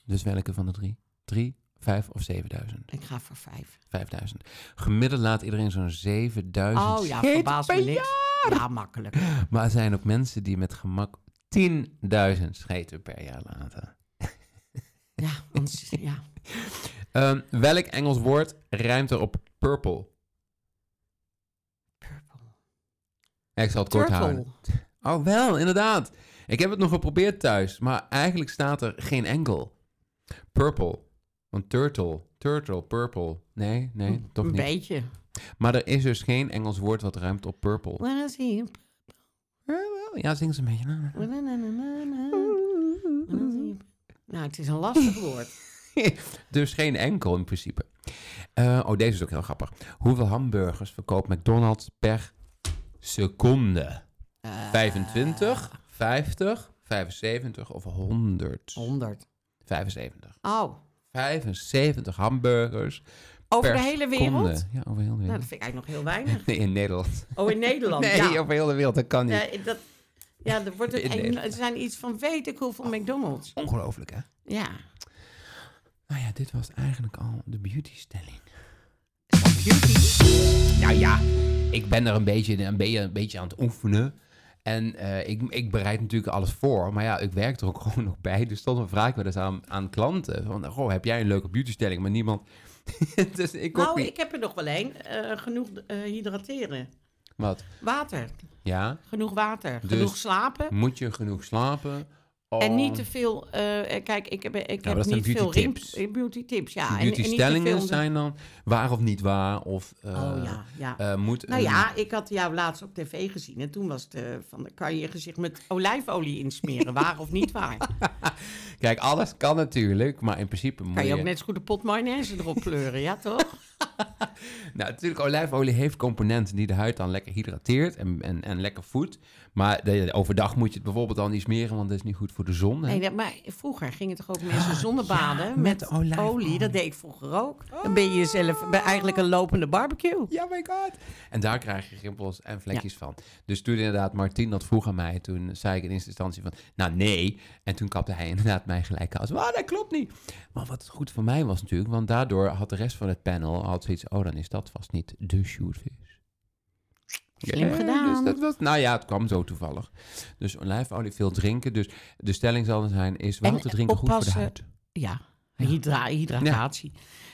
S1: Dus welke van de drie? 3, 5 of 7000?
S2: Ik ga voor 5.
S1: 5000. Gemiddeld laat iedereen zo'n 7000
S2: oh ja,
S1: scheten
S2: verbaas me
S1: per
S2: niks.
S1: jaar.
S2: Ja, makkelijk.
S1: Maar er zijn ook mensen die met gemak 10.000 scheten per jaar laten.
S2: Ja, anders, ja.
S1: Ehm, welk Engels woord ruimt er op purple?
S2: Purple.
S1: Ja, Ik zal het kort houden.
S2: Turtle.
S1: Oh, wel, inderdaad. Ik heb het nog geprobeerd thuis, maar eigenlijk staat er geen enkel. Purple. Want turtle. Turtle, purple. Nee, nee, toch
S2: Een
S1: niet.
S2: beetje.
S1: Maar er is dus geen Engels woord wat ruimt op purple.
S2: When I see him.
S1: Eh, wel, Ja, zing ze een beetje na.
S2: when I- na- na- na- na. When I see him. Nou, het is een lastig woord.
S1: Dus geen enkel in principe. Eh, oh, deze is ook heel grappig. Hoeveel hamburgers verkoopt McDonald's per seconde?
S2: Eh,
S1: 25, 50, 75 of 100?
S2: 100.
S1: 75.
S2: Oh,
S1: 75 hamburgers
S2: over
S1: per
S2: de hele
S1: seconde.
S2: wereld?
S1: Ja, over heel de
S2: Nou,
S1: wereld.
S2: dat vind ik eigenlijk nog heel weinig.
S1: Nee, in Nederland.
S2: Oh, in Nederland?
S1: Nee,
S2: ja.
S1: over heel de wereld, dat kan niet.
S2: Ja, eh, dat, ja, er, wordt
S1: In
S2: een-
S1: Nederland. Oh.
S2: er zijn iets van weet ik hoeveel McDonald's.
S1: Ongelooflijk, hè?
S2: Ja.
S1: Nou ja, dit was eigenlijk al de beautystelling.
S2: Beauty?
S1: Nou ja, ik ben er een beetje, een beetje, een beetje aan het oefenen. En eh, ik, ik bereid natuurlijk alles voor. Maar ja, ik werk er ook gewoon nog bij. Dus soms vraag ik wel eens aan, aan klanten. Van, goh, heb jij een leuke beautystelling? Maar niemand... dus ik ook
S2: Nou,
S1: niet.
S2: ik heb er nog wel één. Eh, genoeg eh, hydrateren.
S1: Wat?
S2: Water.
S1: Ja,
S2: Genoeg water.
S1: Dus-
S2: Genoeg slapen.
S1: moet je genoeg slapen?
S2: En
S1: Oh.
S2: niet te veel... eh, kijk, ik heb, ik
S1: Nou, dat
S2: heb
S1: zijn
S2: niet veel
S1: beauty
S2: rimpels.
S1: tips.
S2: eh, Beauty tips, ja. En- en niet te
S1: beautystellingen
S2: veel-
S1: zijn dan waar of niet waar? Of eh,
S2: Oh ja, ja.
S1: eh, moet
S2: nou
S1: een-
S2: ja, ik had jou laatst op tv gezien. En toen was het eh, van, kan je je gezicht met olijfolie insmeren? waar of niet waar?
S1: Kijk, alles kan natuurlijk, maar in principe moet
S2: Kan je ook net zo goed een pot mayonaise erop pleuren, ja toch?
S1: Nou, natuurlijk, olijfolie heeft componenten die de huid dan lekker hydrateert en, en, en lekker voedt. Maar de- overdag moet je het bijvoorbeeld al niet smeren, want dat is niet goed voor de zon. hè?
S2: Nee, dat- maar vroeger gingen toch ook mensen zonnebaden
S1: ja, met
S2: met,
S1: olijfolie.
S2: olie. Dat deed ik vroeger ook.
S1: Oh.
S2: Dan ben je jezelf ben eigenlijk een lopende barbecue.
S1: Ja, my god. En daar krijg je rimpels en vlekjes van. Dus toen inderdaad, Martin dat vroeg aan mij, toen zei ik in eerste instantie van, nou nee. En toen kapte hij inderdaad mij gelijk als, ah, dat klopt niet. Maar wat goed voor mij was natuurlijk, want daardoor had de rest van het panel had zoiets, oh, dan is dat vast niet de shootvis.
S2: Slim
S1: Ja,
S2: gedaan.
S1: Dus dat was, nou ja, het kwam zo toevallig. Dus olijfolie, veel drinken. Dus de stelling zal zijn, is
S2: En
S1: water drinken goed voor de
S2: oppassen.
S1: huid.
S2: Ja, hydra hydratatie.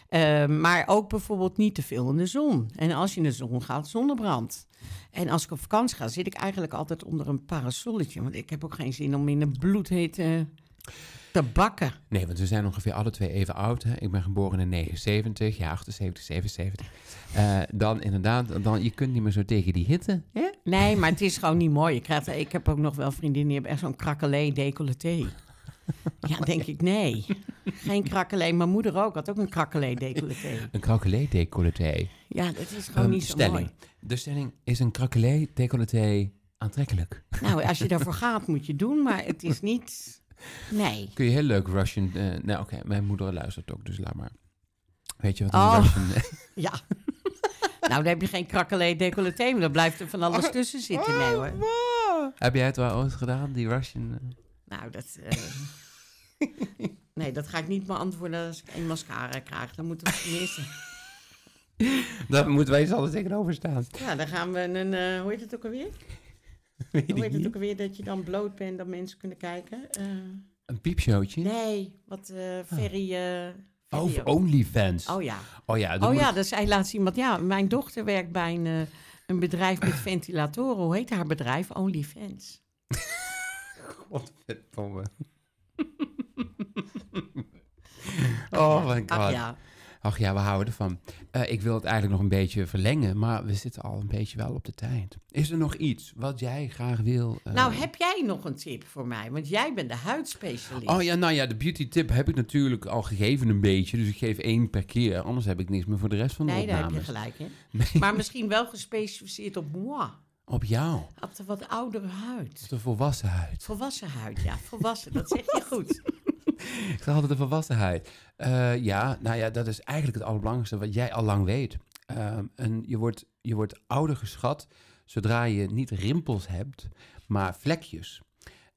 S2: Eh, maar ook bijvoorbeeld niet te veel in de zon. En als je in de zon gaat, zonnebrand. En als ik op vakantie ga, zit ik eigenlijk altijd onder een parasolletje. Want ik heb ook geen zin om in de bloedhitte te bakken.
S1: Nee, want we zijn ongeveer alle twee even oud. Hè? Ik ben geboren in 79, ja, 78, 77. Eh, dan inderdaad, dan, je kunt niet meer zo tegen die hitte. Hè?
S2: Nee, maar het is gewoon niet mooi. Ik, krijg, ik heb ook nog wel vriendinnen die hebben echt zo'n krakelé decolleté. Ja, denk ik, nee. Geen krakelé. Mijn moeder ook had ook een krakelé decolleté.
S1: Een krakelé decolleté.
S2: Ja, dat is gewoon
S1: Ehm,
S2: niet zo
S1: stelling.
S2: mooi.
S1: De stelling is een krakelé decolleté aantrekkelijk.
S2: Nou, als je daarvoor gaat, moet je doen, maar het is niet... Nee.
S1: Kun je heel leuk Russian... eh, nou oké, mijn moeder luistert ook, dus laat maar. Weet je wat een
S2: Oh.
S1: Russian...
S2: Ja. Nou, daar heb je geen krakkelee decolleté, maar daar blijft er van alles tussen zitten. Nee hoor.
S1: Heb jij het wel ooit gedaan, die Russian? eh?
S2: Nou, dat... eh, nee, dat ga ik niet beantwoorden als ik een mascara krijg. Dan moeten we eerst...
S1: Daar moeten wij eens alles tegenover staan.
S2: Ja, dan gaan we een... eh, hoe heet het ook alweer?
S1: Weet
S2: Hoe
S1: ik
S2: heet het
S1: niet.
S2: ook alweer dat je dan bloot bent, dat mensen kunnen kijken? Eh,
S1: Een piepshowtje?
S2: nee, wat eh
S1: Ah.
S2: ferry... eh,
S1: Of
S2: video.
S1: Oh, OnlyFans.
S2: oh ja.
S1: Oh ja, dan
S2: Oh
S1: moet
S2: ja,
S1: ik-
S2: dat zei laatst iemand. Ja, mijn dochter werkt bij een, eh, een bedrijf met ventilatoren. Hoe heet haar bedrijf? OnlyFans.
S1: Godverdomme. oh my god.
S2: Ach ja.
S1: Ach ja, we houden ervan. Eh, ik wil het eigenlijk nog een beetje verlengen, maar we zitten al een beetje wel op de tijd. Is er nog iets wat jij graag wil? eh,
S2: Nou, heb jij nog een tip voor mij? Want jij bent de huidspecialist.
S1: Oh ja, nou ja, de beauty tip heb ik natuurlijk al gegeven een beetje. Dus ik geef één per keer. Anders heb ik niks meer voor de rest van de
S2: nee, daar heb je
S1: opnames.
S2: gelijk in. Maar misschien wel gespecificeerd op moi.
S1: Op jou.
S2: Op de wat oudere huid.
S1: De volwassen huid.
S2: Volwassen huid, ja. Volwassen, dat zeg je goed.
S1: Ik zeg altijd de volwassenheid. Eh, ja, nou ja, dat is eigenlijk het allerbelangrijkste wat jij al lang weet. Ehm, en je wordt, je wordt ouder geschat zodra je niet rimpels hebt, maar vlekjes.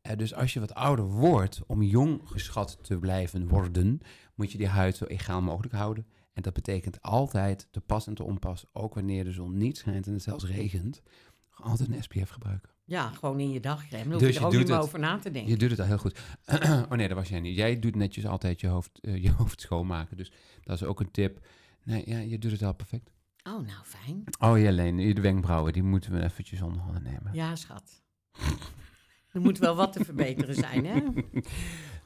S1: Eh, dus als je wat ouder wordt, om jong geschat te blijven worden, moet je die huid zo egaal mogelijk houden. En dat betekent altijd te pas en te onpas, ook wanneer de zon niet schijnt en het zelfs regent, altijd een SPF gebruiken.
S2: Ja, gewoon in je dagcrème. Dan hoef
S1: Dus
S2: je
S1: je
S2: er ook
S1: doet
S2: niet meer
S1: het.
S2: over na te denken.
S1: Je doet het al heel goed. oh nee, dat was jij niet. Jij doet netjes altijd je hoofd, eh, je hoofd schoonmaken. Dus dat is ook een tip. Nee, ja, je doet het al perfect.
S2: Oh, nou fijn.
S1: Oh ja, alleen de wenkbrauwen, die moeten we eventjes onder handen nemen.
S2: Ja, schat. Er moet wel wat te verbeteren zijn, hè?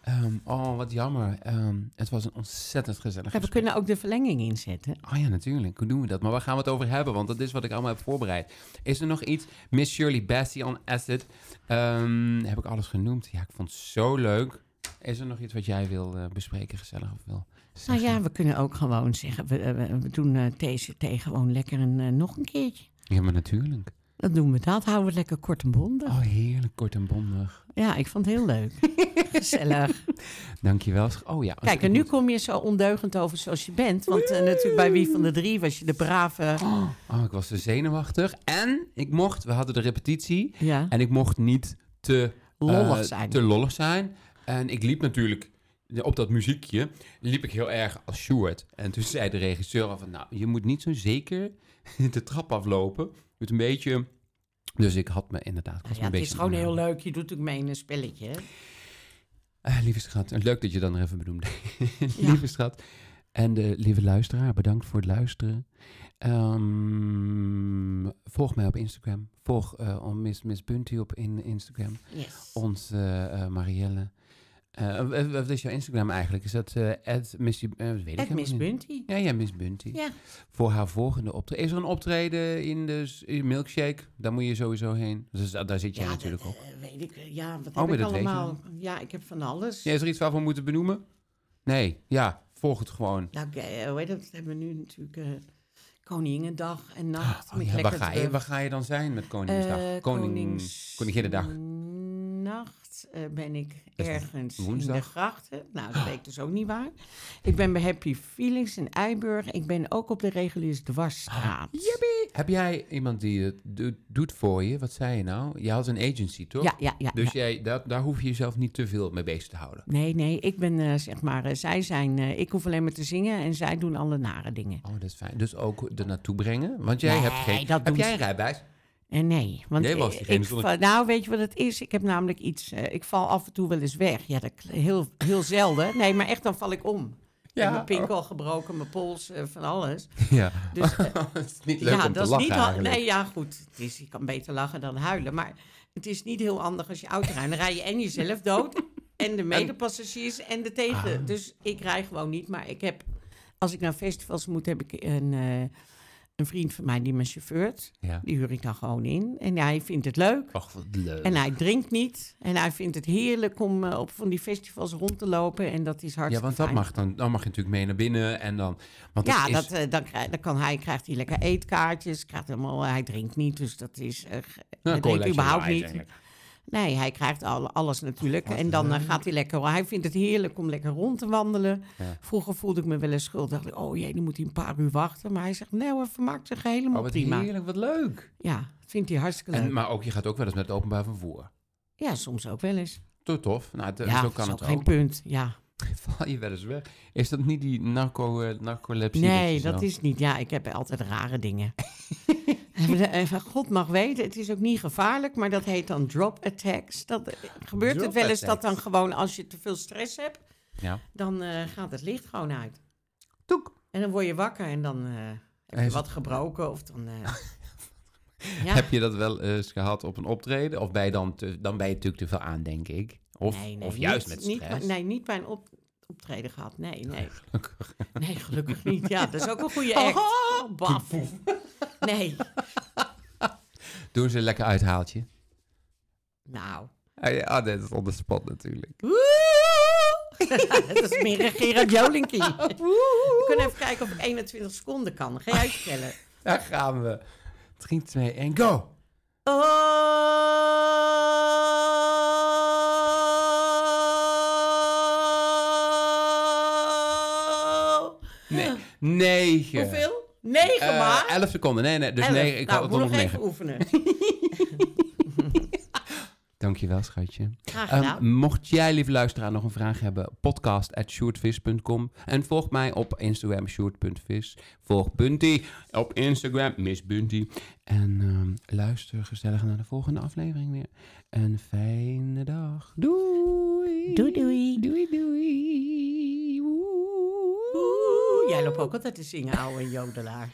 S1: Ehm, oh, wat jammer. Ehm, het was een ontzettend gezellig
S2: Ja, we
S1: gesprek.
S2: kunnen ook de verlenging inzetten.
S1: Oh ja, natuurlijk. Hoe doen we dat? Maar waar gaan we het over hebben? Want dat is wat ik allemaal heb voorbereid. Is er nog iets? Miss Shirley Bassey on Acid. Ehm, heb ik alles genoemd? Ja, ik vond het zo leuk. Is er nog iets wat jij wil eh, bespreken, gezellig of wil
S2: Nou
S1: zeggen?
S2: ja, we kunnen ook gewoon zeggen, we, we, we doen eh TCT gewoon lekker een, eh, nog een keertje.
S1: ja, maar natuurlijk.
S2: Dan doen we dat, houden we het lekker kort en bondig.
S1: Oh, heerlijk kort en bondig.
S2: Ja, ik vond het heel leuk. Gezellig.
S1: Dankjewel. Oh ja. als
S2: Kijk,
S1: ik
S2: en nu
S1: moet-
S2: kom je zo ondeugend over zoals je bent. Want eh, natuurlijk bij Wie van de Drie was je de brave...
S1: Oh, oh, ik was zo zenuwachtig. En ik mocht, we hadden de repetitie.
S2: Ja,
S1: En ik mocht niet te... eh,
S2: lollig zijn.
S1: Te lollig zijn. En ik liep natuurlijk... Op dat muziekje liep ik heel erg als Sjoerd. En toen zei de regisseur al van... Nou, je moet niet zo zeker de trap aflopen. Je moet een beetje... Dus ik had me inderdaad... ik was
S2: Nou Ja,
S1: me
S2: het
S1: een
S2: is
S1: beetje
S2: gewoon heel
S1: aan-
S2: leuk. Je doet ook mee in een spelletje. hè?
S1: Eh, lieve schat, eh, leuk dat je dat nog even benoemde.
S2: Ja.
S1: lieve schat. En de lieve luisteraar, bedankt voor het luisteren. Ehm, volg mij op Instagram. Volg eh, om Miss, Miss Bunty op in Instagram.
S2: Yes.
S1: Ons eh, eh, Marielle. Eh, eh, eh, wat is jouw Instagram eigenlijk? Is dat eh at Missy... eh, dat weet ik
S2: Echt
S1: helemaal
S2: Miss
S1: niet.
S2: Bunty.
S1: Ja, ja, Miss Bunty.
S2: Ja.
S1: Voor haar volgende optreden. Is er een optreden in de s- in Milkshake? Daar moet je sowieso heen. Dus daar daar zit jij
S2: dat,
S1: natuurlijk op.
S2: eh, weet ik. Ja, wat
S1: Oh,
S2: heb
S1: maar
S2: ik
S1: dat weet je
S2: allemaal? Ja, ik heb van alles.
S1: Ja, is er iets waarvan we moeten benoemen? Nee, ja, volg het gewoon.
S2: Nou, ik, eh, hoe heet dat? We hebben nu natuurlijk eh Koningendag en nacht.
S1: Oh
S2: met
S1: ja, waar
S2: lekker
S1: ga, je,
S2: terug.
S1: waar ga je dan zijn met Koningsdag?
S2: Eh,
S1: Konings... Koninginnedag.
S2: Nacht eh, ben ik
S1: Dat is
S2: ergens in de
S1: woensdag. Ah.
S2: grachten. Nou, dat weet ik dus ook niet waar. Ik ben bij Happy Feelings in Eiburg. Ik ben ook op de reguliers Dwarsstraat.
S1: Ah, Heb jij iemand die het do- doet voor je? Wat zei je nou? Je had een agency, toch?
S2: ja, ja, ja.
S1: Dus
S2: ja.
S1: jij, daar, daar hoef je jezelf niet te veel mee bezig te houden.
S2: Nee, nee, ik ben eh, zeg maar, eh, zij zijn, eh, ik hoef alleen maar te zingen en zij doen alle nare dingen.
S1: Oh, dat is fijn. Dus ook er naartoe brengen? Want jij
S2: Nee,
S1: hebt geen...
S2: dat
S1: heb
S2: doen
S1: jij
S2: ze-
S1: een rijbewijs?
S2: En Eh, nee, want
S1: Jij was
S2: ik,
S1: diegene
S2: ik
S1: zonder-
S2: val- nou weet je wat het is? Ik heb namelijk iets, eh, ik val af en toe wel eens weg. Ja, dat kl- heel, heel zelden. Nee, maar echt dan val ik om. Ik heb
S1: oh.
S2: mijn pinkel gebroken, mijn pols, eh, van alles.
S1: Ja.
S2: Dus eh,
S1: Het is niet leuk
S2: ja,
S1: om te
S2: dat
S1: lachen
S2: is niet. ha-
S1: eigenlijk.
S2: Nee, ja, goed. Het is, je kan beter lachen dan huilen. Maar het is niet heel handig als je auto rijdt. Dan rij je en jezelf dood. en de medepassagiers en de tegen.
S1: Ah.
S2: Dus ik rij gewoon niet. Maar ik heb, als ik naar festivals moet, heb ik een, eh, een vriend van mij die me chauffeurt.
S1: Ja.
S2: Die huur ik dan gewoon in. En hij vindt het leuk.
S1: Och, wat leuk.
S2: En hij drinkt niet. En hij vindt het heerlijk om eh, op van die festivals rond te lopen. En dat is
S1: Ja,
S2: hartstikke
S1: want dat
S2: fijn.
S1: mag dan, dan mag je natuurlijk mee naar binnen en dan... Want
S2: Ja,
S1: het is, Oh,
S2: dat, eh, dan, krijg- dan kan hij, krijgt hij lekker eetkaartjes. Krijgt helemaal, hij drinkt niet, dus dat is... eh, ge-
S1: Nou, colaatje
S2: hij drinkt überhaupt
S1: light
S2: niet.
S1: eigenlijk.
S2: Nee, hij krijgt al, alles natuurlijk.
S1: Wat
S2: en dan eh,
S1: leuk.
S2: gaat hij lekker. Hij vindt het heerlijk om lekker rond te wandelen.
S1: Ja.
S2: Vroeger voelde ik me wel eens schuldig. Dacht ik, Oh jee, dan moet hij een paar uur wachten. Maar hij zegt, nee hoor, vermaakt zich helemaal
S1: Oh, wat
S2: prima.
S1: heerlijk, wat leuk.
S2: Ja, vindt hij hartstikke leuk.
S1: En, maar ook, je gaat ook wel eens met het openbaar vervoer.
S2: ja, soms ook wel eens.
S1: Toch tof. Nou, het-
S2: ja,
S1: zo
S2: dat
S1: kan
S2: is
S1: het
S2: ook geen
S1: ook.
S2: punt. Ja.
S1: Val je wel eens weg. Is dat niet die narco, eh, narcolepsie?
S2: Nee,
S1: je
S2: dat
S1: zo-
S2: is niet. Ja, ik heb altijd rare dingen. En, eh, van God mag weten, het is ook niet gevaarlijk, maar dat heet dan drop attacks. Dat, eh, gebeurt
S1: Drop
S2: het wel eens dat dan
S1: attacks.
S2: gewoon als je te veel stress hebt,
S1: Ja.
S2: dan eh, gaat het licht gewoon uit. En dan word je wakker en dan eh, heb
S1: Hij
S2: je
S1: is-
S2: wat gebroken of dan... eh, ja.
S1: Heb je dat wel eens gehad op een optreden? Of bij dan, te- dan ben je natuurlijk te veel aan, denk ik. Of,
S2: Nee, nee,
S1: of juist
S2: niet-
S1: met
S2: niet
S1: stress.
S2: bij- nee, niet bij een op, optreden gehad. Nee, nee. Nee, gelukkig niet. Ja, dat is ook een goede act. Oh, baf. Nee.
S1: Doen ze een lekker uithaaltje.
S2: Nou.
S1: Ah, ja, ah, nee, dat is on the spot natuurlijk.
S2: dat is meer een Gerard Jolinkie. We kunnen even kijken of ik 21 seconden kan. Ga jij vertellen?
S1: Daar gaan we. 3, 2, 1, go! Oh.
S2: Oh.
S1: Nee, 9.
S2: Hoeveel? 9 maar.
S1: 11 seconden. Nee, nee, dus
S2: Elf.
S1: Eh, nee, ik
S2: nou,
S1: had
S2: moet
S1: het nog
S2: nog
S1: negen.
S2: even oefenen.
S1: Dankjewel, schatje.
S2: Graag
S1: Ehm,
S2: gedaan.
S1: mocht jij, lieve luisteraar, nog een vraag hebben, podcast.sjoerdvis.com. En volg mij op Instagram, sjoerd.vis. Volg Bunty op Instagram, Miss Bunty. En ehm, luister gezellig naar de volgende aflevering weer. Een fijne dag. Doei.
S2: Doei, doei.
S1: Doei, doei. Oeh.
S2: Oeh, jij loopt ook altijd te zingen, ouwe jodelaar.